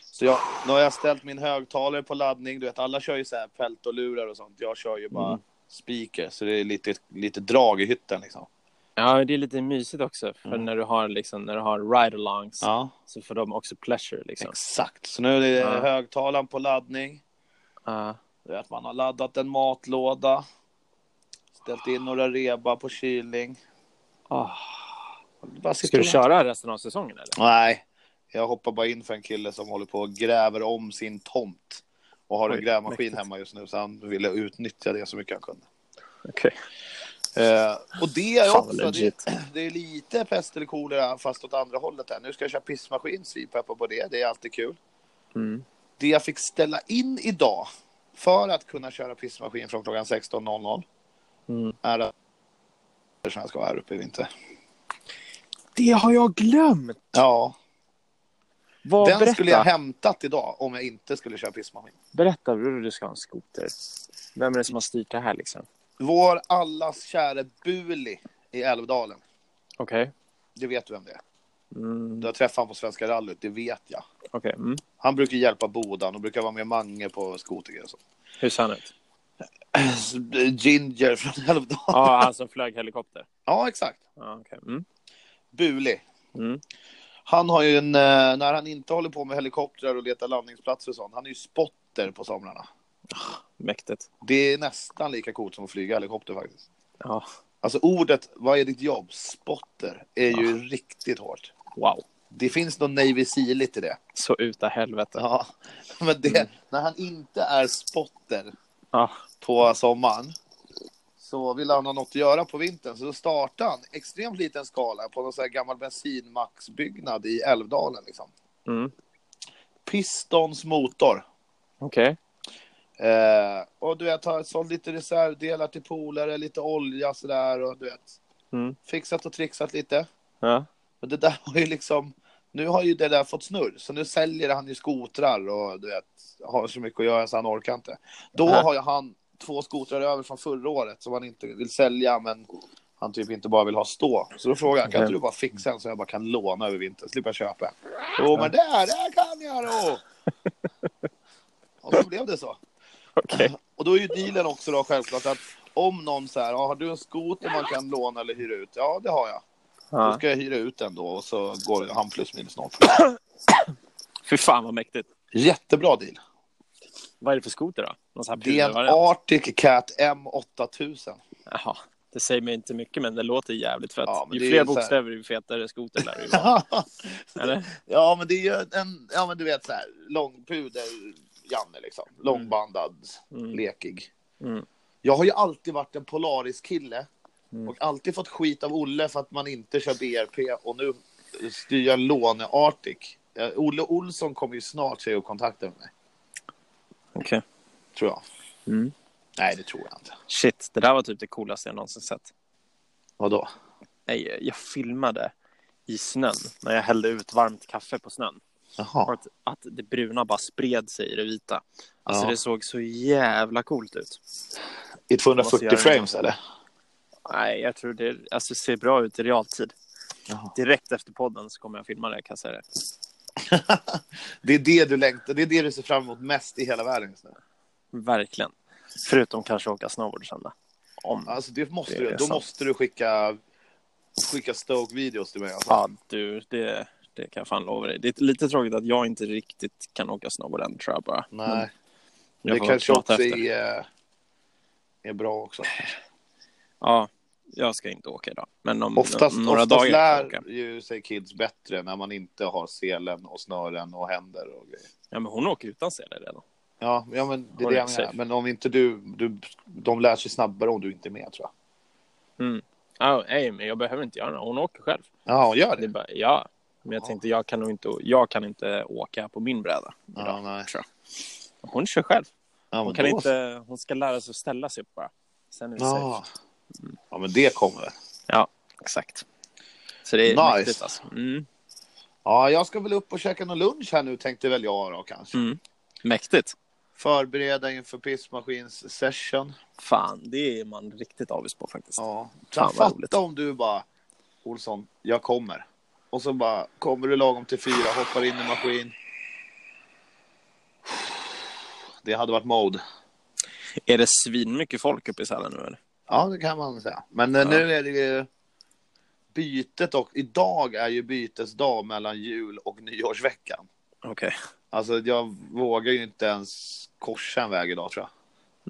[SPEAKER 1] Så jag, nu har jag ställt min högtalare på laddning. Du vet, alla kör ju så här pält och lurar och sånt. Jag kör ju bara speaker, så det är lite, lite drag i hytten liksom.
[SPEAKER 2] Ja, men det är lite mysigt också. För
[SPEAKER 1] Mm.
[SPEAKER 2] när du har, liksom, när du har ride-alongs
[SPEAKER 1] Ja,
[SPEAKER 2] så får de också pleasure. Liksom.
[SPEAKER 1] exakt. Så nu är det
[SPEAKER 2] Ja.
[SPEAKER 1] högtalaren på laddning.
[SPEAKER 2] Ja.
[SPEAKER 1] Du vet, man har laddat en matlåda. Ställt in några reba på kylning.
[SPEAKER 2] Ah.
[SPEAKER 1] Bara sitter
[SPEAKER 2] Ska du
[SPEAKER 1] och-
[SPEAKER 2] köra resten av säsongen eller?
[SPEAKER 1] Nej, jag hoppar bara in för en kille som håller på och gräver om sin tomt. Och har en
[SPEAKER 2] Oj,
[SPEAKER 1] grävmaskin
[SPEAKER 2] mäktigt.
[SPEAKER 1] hemma just nu, så han ville utnyttja det så mycket han kunde.
[SPEAKER 2] Okej.
[SPEAKER 1] Eh, och det är
[SPEAKER 2] Fan,
[SPEAKER 1] också, det,
[SPEAKER 2] legit.
[SPEAKER 1] det är lite pest eller kolera fast åt andra hållet här. Nu ska jag köra pissmaskin, svinpeppar på det, det är alltid kul.
[SPEAKER 2] Mm.
[SPEAKER 1] Det jag fick ställa in idag för att kunna köra pissmaskin från klockan 16.00
[SPEAKER 2] Mm.
[SPEAKER 1] är att som jag ska vara här uppe i vinter.
[SPEAKER 2] Det har jag glömt!
[SPEAKER 1] Ja,
[SPEAKER 2] Vad,
[SPEAKER 1] den
[SPEAKER 2] berätta.
[SPEAKER 1] skulle jag hämtat idag om jag inte skulle köra pissmaskin.
[SPEAKER 2] berätta bror, du ska ha en skoter. Vem är det som har styrt det här liksom?
[SPEAKER 1] Vår allas käre Buli i Älvdalen.
[SPEAKER 2] Okej.
[SPEAKER 1] Det vet du vem det är.
[SPEAKER 2] Mm.
[SPEAKER 1] Du har träffat honom på Svenska rallyt, det vet jag.
[SPEAKER 2] Okej. Mm.
[SPEAKER 1] Han brukar hjälpa Bodan och brukar vara med Mange på skotergrejer och sånt.
[SPEAKER 2] Hur ser han ut?
[SPEAKER 1] Ginger från Älvdalen.
[SPEAKER 2] Ja,
[SPEAKER 1] Ja,
[SPEAKER 2] han som flög helikopter.
[SPEAKER 1] exakt.
[SPEAKER 2] Ja, okej. Mm.
[SPEAKER 1] Buli.
[SPEAKER 2] Mm.
[SPEAKER 1] Han har ju en, eh, när han inte håller på med helikoptrar och letar landningsplatser och sånt, han är ju spotter på somrarna.
[SPEAKER 2] Mäktigt.
[SPEAKER 1] Det är nästan lika coolt som att flyga helikopter faktiskt.
[SPEAKER 2] Ja.
[SPEAKER 1] Alltså ordet, vad är ditt jobb? Spotter, är ju riktigt hårt.
[SPEAKER 2] Wow. Det...
[SPEAKER 1] Det finns någon Navy Sealigt i det.
[SPEAKER 2] Så uta helvete.
[SPEAKER 1] Ja, men det, när han inte är spotter
[SPEAKER 2] Ja.
[SPEAKER 1] på sommaren så vill han ha något att göra på vintern, så då startade han extremt liten skala på någon sån här gammal bensinmacksbyggnad i Älvdalen. Liksom.
[SPEAKER 2] Mm.
[SPEAKER 1] Pistons motor.
[SPEAKER 2] Okej.
[SPEAKER 1] Eh, och du vet, har sålt lite reservdelar till polare, lite olja sådär och du vet.
[SPEAKER 2] Mm.
[SPEAKER 1] Fixat och trixat lite.
[SPEAKER 2] Ja.
[SPEAKER 1] Men det där har ju liksom, nu har ju det där fått snurr, så nu säljer han ju skotrar och du vet, har så mycket att göra så han orkar inte. Då
[SPEAKER 2] Nej.
[SPEAKER 1] har ju han två skotrar över från förra året som han inte vill sälja, men han typ inte bara vill ha stå. Så då frågar jag, kan inte
[SPEAKER 2] Okej.
[SPEAKER 1] du bara fixa en så jag bara kan låna över vintern, slipper jag köpa en? Jo, men det där kan jag då! Och så blev det så.
[SPEAKER 2] Okej.
[SPEAKER 1] Och då är ju dealen också då självklart att om någon så här, "Ja, har du en skoter man kan låna eller hyra ut? Ja, det har jag. Då
[SPEAKER 2] Ja.
[SPEAKER 1] ska jag hyra ut den då och så går han plus minus noll.
[SPEAKER 2] Fy fan vad mäktigt.
[SPEAKER 1] Jättebra deal.
[SPEAKER 2] Vad är det för skoter då? Någon sån här
[SPEAKER 1] Det är
[SPEAKER 2] pudelvariant?
[SPEAKER 1] en Arctic Cat M8000.
[SPEAKER 2] Jaha. Det Det säger mig inte mycket, men det låter jävligt fett.
[SPEAKER 1] Ja, men det är
[SPEAKER 2] ju fler
[SPEAKER 1] så här-
[SPEAKER 2] bokstäver, ju fetare skoter lär det ju vara. Eller?
[SPEAKER 1] ja, men det är ju en, ja men du vet så här, långpuder Janne liksom. Långbandad,
[SPEAKER 2] Mm.
[SPEAKER 1] lekig.
[SPEAKER 2] Mm.
[SPEAKER 1] Jag har ju alltid varit en Polaris-kille.
[SPEAKER 2] Mm.
[SPEAKER 1] Och alltid fått skit av Olle för att man inte kör BRP och nu styr jag låne Arctic. Eh, Olle Olsson kommer ju snart säga och kontakta mig,
[SPEAKER 2] Okej.
[SPEAKER 1] tror jag.
[SPEAKER 2] Mm.
[SPEAKER 1] Nej, det tror jag inte.
[SPEAKER 2] Shit, det där var typ det coolaste jag någonsin sett.
[SPEAKER 1] Vadå?
[SPEAKER 2] Nej, jag filmade i snön när jag hällde ut varmt kaffe på snön. Och
[SPEAKER 1] Jaha.
[SPEAKER 2] att, att det bruna bara spred sig i det vita. Alltså
[SPEAKER 1] Ja.
[SPEAKER 2] det såg så jävla coolt ut.
[SPEAKER 1] I
[SPEAKER 2] Måste
[SPEAKER 1] 240
[SPEAKER 2] göra det.
[SPEAKER 1] frames, eller?
[SPEAKER 2] Nej, jag tror det alltså, ser bra ut i realtid.
[SPEAKER 1] Jaha.
[SPEAKER 2] Direkt efter podden så kommer jag filma det, kan jag säga det.
[SPEAKER 1] Det är det du längtar, det är det du ser fram emot mest i hela världen just nu.
[SPEAKER 2] Verkligen. Förutom kanske åka snowboard sen då. Om.
[SPEAKER 1] Alltså det måste
[SPEAKER 2] Det är
[SPEAKER 1] du, då
[SPEAKER 2] sant.
[SPEAKER 1] måste du skicka, skicka Stoke-videos till mig. Alltså.
[SPEAKER 2] Ja, du, det, det kan jag fan lova dig. Det är lite tråkigt att jag inte riktigt kan åka snowboard än, tror jag bara.
[SPEAKER 1] Nej,
[SPEAKER 2] Men Mm. jag
[SPEAKER 1] det
[SPEAKER 2] får
[SPEAKER 1] kanske
[SPEAKER 2] prata
[SPEAKER 1] också
[SPEAKER 2] efter. Mm,
[SPEAKER 1] är, eh, är bra också.
[SPEAKER 2] Ja, jag ska inte åka idag. Men om
[SPEAKER 1] Oftast,
[SPEAKER 2] om några
[SPEAKER 1] oftast
[SPEAKER 2] dagar kan jag åka.
[SPEAKER 1] lär ju sig kids bättre när man inte har selen och snören och händer och grejer.
[SPEAKER 2] Ja, men hon åker utan sele redan.
[SPEAKER 1] Ja, ja men det är
[SPEAKER 2] Håller
[SPEAKER 1] det jag
[SPEAKER 2] sig.
[SPEAKER 1] menar. Men om inte du, du, de lär sig snabbare om du inte är med tror jag.
[SPEAKER 2] Ja, nej, men jag behöver inte göra något. Hon åker själv.
[SPEAKER 1] Ja, gör
[SPEAKER 2] Det är
[SPEAKER 1] det.
[SPEAKER 2] bara, ja, men jag
[SPEAKER 1] Ja.
[SPEAKER 2] tänkte jag kan nog inte, jag kan inte åka på min bräda.
[SPEAKER 1] Ja, nej.
[SPEAKER 2] tror Hon kör själv.
[SPEAKER 1] Ja,
[SPEAKER 2] Hon,
[SPEAKER 1] men
[SPEAKER 2] kan
[SPEAKER 1] då så.
[SPEAKER 2] inte, hon ska lära sig att ställa sig upp bara. Sen är det
[SPEAKER 1] Ja.
[SPEAKER 2] safe.
[SPEAKER 1] ja, men det kommer väl.
[SPEAKER 2] Exakt. Så det är
[SPEAKER 1] Nice.
[SPEAKER 2] mäktigt alltså. Mm.
[SPEAKER 1] Ja, jag ska väl upp och käka någon lunch här nu tänkte väl jag då kanske.
[SPEAKER 2] Mm. Mäktigt.
[SPEAKER 1] Förbereda inför pissmaskins session.
[SPEAKER 2] Fan, det är man riktigt avis på faktiskt.
[SPEAKER 1] Ja.
[SPEAKER 2] Fan, vad roligt.
[SPEAKER 1] Fatta om du bara, Olsson, jag kommer. Och så bara, kommer du lagom till fyra, hoppar in i maskin. Det hade varit mode.
[SPEAKER 2] Är det svinmycket folk uppe i Sälen nu eller?
[SPEAKER 1] Ja, det kan man säga. Men eh,
[SPEAKER 2] Ja.
[SPEAKER 1] nu är det ju bytet och idag är ju bytesdag mellan jul och nyårsveckan.
[SPEAKER 2] Okej.
[SPEAKER 1] Alltså jag vågar ju inte ens korsa en väg idag tror jag.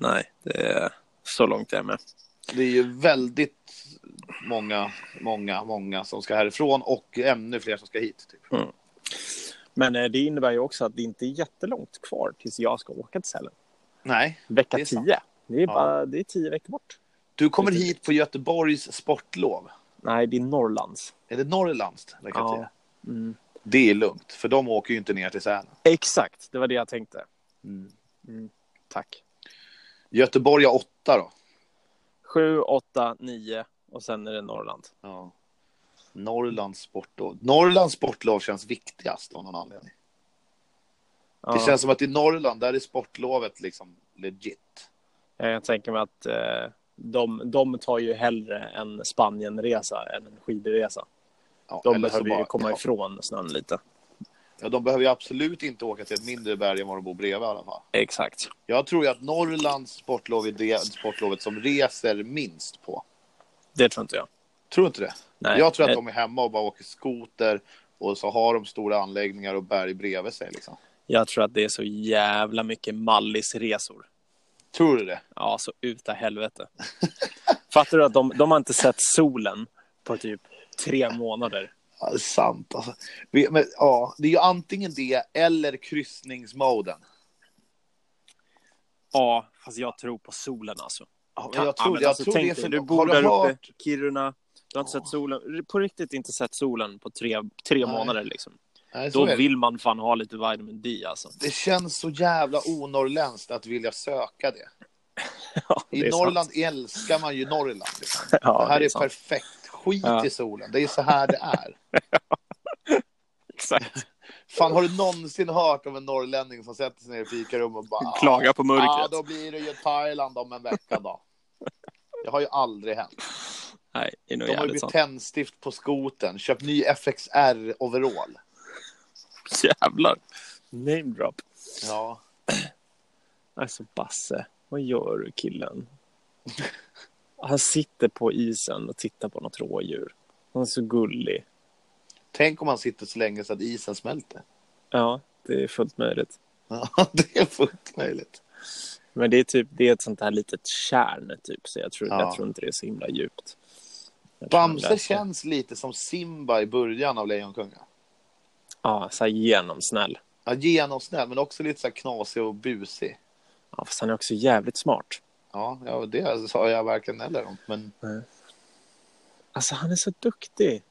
[SPEAKER 2] Nej, det är så långt jag är med.
[SPEAKER 1] Det är ju väldigt många, många, många som ska härifrån och ännu fler som ska hit. Typ.
[SPEAKER 2] Men eh, det innebär ju också att det inte är jättelångt kvar tills jag ska åka till Sälen.
[SPEAKER 1] Nej,
[SPEAKER 2] Vecka
[SPEAKER 1] Det är sant.
[SPEAKER 2] 10. Det är,
[SPEAKER 1] Ja.
[SPEAKER 2] bara, det är tio veckor bort.
[SPEAKER 1] du kommer hit på Göteborgs sportlov.
[SPEAKER 2] Nej, det är Norrlands.
[SPEAKER 1] Är det Norrlands? Det, kan
[SPEAKER 2] Ja.
[SPEAKER 1] jag säga. Mm. det är lugnt, för de åker ju inte ner till Sälen.
[SPEAKER 2] Exakt, det var det jag tänkte.
[SPEAKER 1] Mm.
[SPEAKER 2] Mm. Tack.
[SPEAKER 1] Göteborg har åtta då.
[SPEAKER 2] Sju, åtta, nio och sen är det Norrland.
[SPEAKER 1] Ja. Norrlands sportlov. Norrlands sportlov känns viktigast av någon anledning.
[SPEAKER 2] Ja,
[SPEAKER 1] Det känns som att i Norrland, där är sportlovet liksom legit.
[SPEAKER 2] Jag tänker mig att eh, de, de tar ju hellre en Spanienresa än en skidresa.
[SPEAKER 1] Ja,
[SPEAKER 2] De
[SPEAKER 1] eller så
[SPEAKER 2] behöver ju
[SPEAKER 1] bara-
[SPEAKER 2] komma
[SPEAKER 1] ja.
[SPEAKER 2] ifrån snön lite.
[SPEAKER 1] Ja, de behöver ju absolut inte åka till ett mindre berg än vad de bor bredvid i alla fall.
[SPEAKER 2] Exakt.
[SPEAKER 1] Jag tror ju att Norrlands sportlov är det sportlovet som reser minst på.
[SPEAKER 2] Det tror inte jag.
[SPEAKER 1] Tror du inte det?
[SPEAKER 2] Nej.
[SPEAKER 1] jag tror att
[SPEAKER 2] Eh,
[SPEAKER 1] de är hemma och bara åker skoter och så har de stora anläggningar och berg bredvid sig. Liksom.
[SPEAKER 2] jag tror att det är så jävla mycket Mallisresor.
[SPEAKER 1] Tror du det?
[SPEAKER 2] Ja, så uta helvete. Fattar du att de, de har inte sett solen på typ tre månader?
[SPEAKER 1] Ja, det är sant. Alltså. Vi- Men, ja, det är ju antingen det eller kryssningsmoden.
[SPEAKER 2] Ja, fast jag tror på solen alltså.
[SPEAKER 1] Ja, men
[SPEAKER 2] Kan-
[SPEAKER 1] jag tror,
[SPEAKER 2] ja, men
[SPEAKER 1] jag
[SPEAKER 2] alltså,
[SPEAKER 1] tror
[SPEAKER 2] tänk
[SPEAKER 1] det.
[SPEAKER 2] dig,
[SPEAKER 1] För
[SPEAKER 2] du
[SPEAKER 1] har
[SPEAKER 2] bor där
[SPEAKER 1] hört-
[SPEAKER 2] uppe, Kiruna. Du har inte
[SPEAKER 1] Ja.
[SPEAKER 2] sett solen, på riktigt inte sett solen på tre, tre
[SPEAKER 1] Nej.
[SPEAKER 2] månader liksom.
[SPEAKER 1] Nej, så
[SPEAKER 2] Då
[SPEAKER 1] är det.
[SPEAKER 2] vill man fan ha lite vitamin D alltså.
[SPEAKER 1] Det känns så jävla onorrländskt att vilja söka det.
[SPEAKER 2] Ja, det
[SPEAKER 1] I
[SPEAKER 2] är sant.
[SPEAKER 1] Norrland älskar man ju Norrland. Liksom.
[SPEAKER 2] Ja,
[SPEAKER 1] det här är,
[SPEAKER 2] sant.
[SPEAKER 1] perfekt. Skit
[SPEAKER 2] Ja.
[SPEAKER 1] i solen. Det är så här det är.
[SPEAKER 2] Exakt.
[SPEAKER 1] Fan, har du någonsin hört om en norrlänning som sätter sig ner i fikarum och bara...
[SPEAKER 2] Klaga på mörkret.
[SPEAKER 1] Ja, då blir det ju Thailand om en vecka då. Det har ju aldrig hänt.
[SPEAKER 2] Nej, det är nog
[SPEAKER 1] De har ju
[SPEAKER 2] jävligt
[SPEAKER 1] bytt
[SPEAKER 2] sant.
[SPEAKER 1] tändstift på skoten, köpt ny FXR-overall.
[SPEAKER 2] Jävlar. Name drop.
[SPEAKER 1] Ja.
[SPEAKER 2] Alltså Basse, vad gör du killen? Han sitter på isen och tittar på något rådjur. Han är så gullig.
[SPEAKER 1] Tänk om man sitter så länge så att isen smälter.
[SPEAKER 2] Ja, det är fullt möjligt.
[SPEAKER 1] Ja, det är fullt möjligt.
[SPEAKER 2] Men det är, typ, det är ett sånt här litet kärn, typ, så jag tror,
[SPEAKER 1] Ja.
[SPEAKER 2] jag tror inte det är så himla djupt. Jag tror man
[SPEAKER 1] Bamse
[SPEAKER 2] läser-
[SPEAKER 1] känns lite som Simba i början av Lejonkungen.
[SPEAKER 2] Ja, så här genomsnäll.
[SPEAKER 1] Ja, genomsnäll, men också lite så här knasig och busig.
[SPEAKER 2] Ja, fast han är också jävligt smart.
[SPEAKER 1] Ja, ja, det sa jag verkligen heller om. Men
[SPEAKER 2] Alltså, han är så duktig.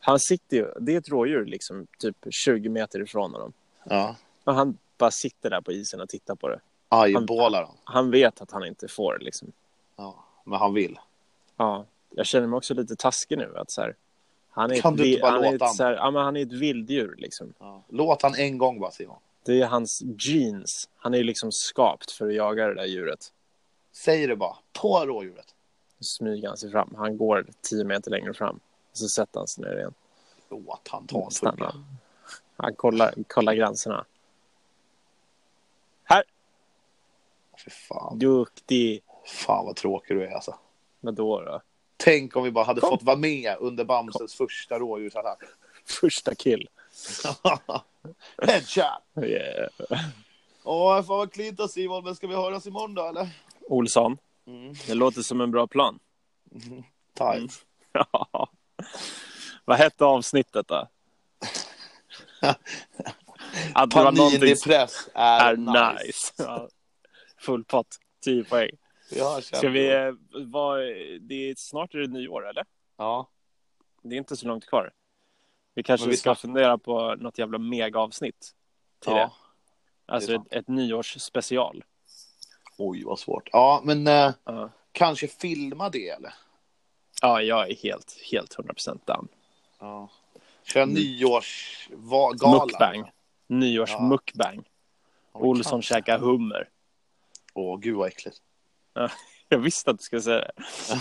[SPEAKER 2] Han sitter ju, det är ett rådjur liksom typ 20 meter ifrån honom.
[SPEAKER 1] ja,
[SPEAKER 2] Och han bara sitter där på isen och tittar på det.
[SPEAKER 1] ajbålar han.
[SPEAKER 2] Han vet att han inte får liksom.
[SPEAKER 1] Ja, men han vill.
[SPEAKER 2] Ja, jag känner mig också lite taskig nu. Att så här, han är
[SPEAKER 1] Kan
[SPEAKER 2] ett,
[SPEAKER 1] du
[SPEAKER 2] vi-
[SPEAKER 1] inte bara
[SPEAKER 2] han är
[SPEAKER 1] låta
[SPEAKER 2] ett, så här, ja, men han är ett vilddjur liksom.
[SPEAKER 1] Ja. Låt han en gång bara, Simon.
[SPEAKER 2] Det är hans genes. Han är ju liksom skapt för att jaga det där djuret.
[SPEAKER 1] Säg det bara. På rådjuret.
[SPEAKER 2] Då smyger han sig fram. Han går tio meter längre fram. Och så sätter han sig ner igen.
[SPEAKER 1] Låt han ta en
[SPEAKER 2] Stannar.
[SPEAKER 1] tugga.
[SPEAKER 2] Han kollar, kollar gränserna. Här!
[SPEAKER 1] Fy fan.
[SPEAKER 2] Duktig!
[SPEAKER 1] fan vad tråkig du är alltså.
[SPEAKER 2] Vadå då?
[SPEAKER 1] Tänk om vi bara hade
[SPEAKER 2] Kom.
[SPEAKER 1] fått vara med under Bamses första rådjursattack.
[SPEAKER 2] Första kill.
[SPEAKER 1] Headshot!
[SPEAKER 2] Yeah.
[SPEAKER 1] Åh, fan vad klint av Simon, men ska vi höras imorgon då eller?
[SPEAKER 2] Olsson,
[SPEAKER 1] Mm.
[SPEAKER 2] det låter som en bra plan.
[SPEAKER 1] Tight.
[SPEAKER 2] Ja. Vad hette avsnittet då? Att det var någonting som
[SPEAKER 1] Panindepress är,
[SPEAKER 2] är nice. Ja. Full pott, 10 poäng.
[SPEAKER 1] Vi hörs.
[SPEAKER 2] Ska vi, eh, vad, det är, snart är det nyår eller?
[SPEAKER 1] Ja.
[SPEAKER 2] Det är inte så långt kvar. Vi
[SPEAKER 1] Men
[SPEAKER 2] kanske
[SPEAKER 1] vi
[SPEAKER 2] ska fundera på något jävla megaavsnitt till
[SPEAKER 1] ja.
[SPEAKER 2] det. Alltså
[SPEAKER 1] det är
[SPEAKER 2] ett, ett nyårsspecial.
[SPEAKER 1] Oj, vad svårt. Ja, men eh,
[SPEAKER 2] Ja.
[SPEAKER 1] kanske filma det eller?
[SPEAKER 2] Ja, jag är helt, helt 100% down.
[SPEAKER 1] Ja. Köra
[SPEAKER 2] Mm.
[SPEAKER 1] nyårsgala.
[SPEAKER 2] Mukbang.
[SPEAKER 1] Ja.
[SPEAKER 2] Nyårs-mukbang. Olsson käkar hummer.
[SPEAKER 1] Åh, gud vad äckligt.
[SPEAKER 2] Jag visste att du skulle säga det.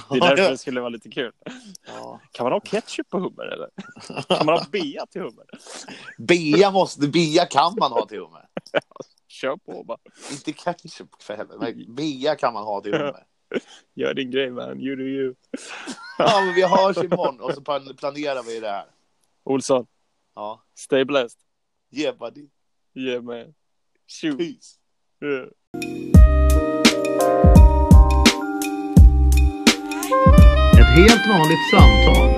[SPEAKER 2] Det är därför det skulle vara lite kul.
[SPEAKER 1] Ja.
[SPEAKER 2] Kan man ha ketchup på hummer eller? Kan man ha bea till hummer?
[SPEAKER 1] Bea måste, bea kan man ha till hummer.
[SPEAKER 2] Kör på bara.
[SPEAKER 1] Inte ketchup för helvete, men bea kan man ha till hummer.
[SPEAKER 2] Gör din grej man. You do you.
[SPEAKER 1] Ja, men vi hörs imorgon och så plan- planerar vi det här.
[SPEAKER 2] Olsson,
[SPEAKER 1] Ja,
[SPEAKER 2] stay blessed.
[SPEAKER 1] yeah buddy.
[SPEAKER 2] Yeah man. Shoot.
[SPEAKER 1] Peace.
[SPEAKER 2] Yeah.
[SPEAKER 1] Ett helt vanligt samtal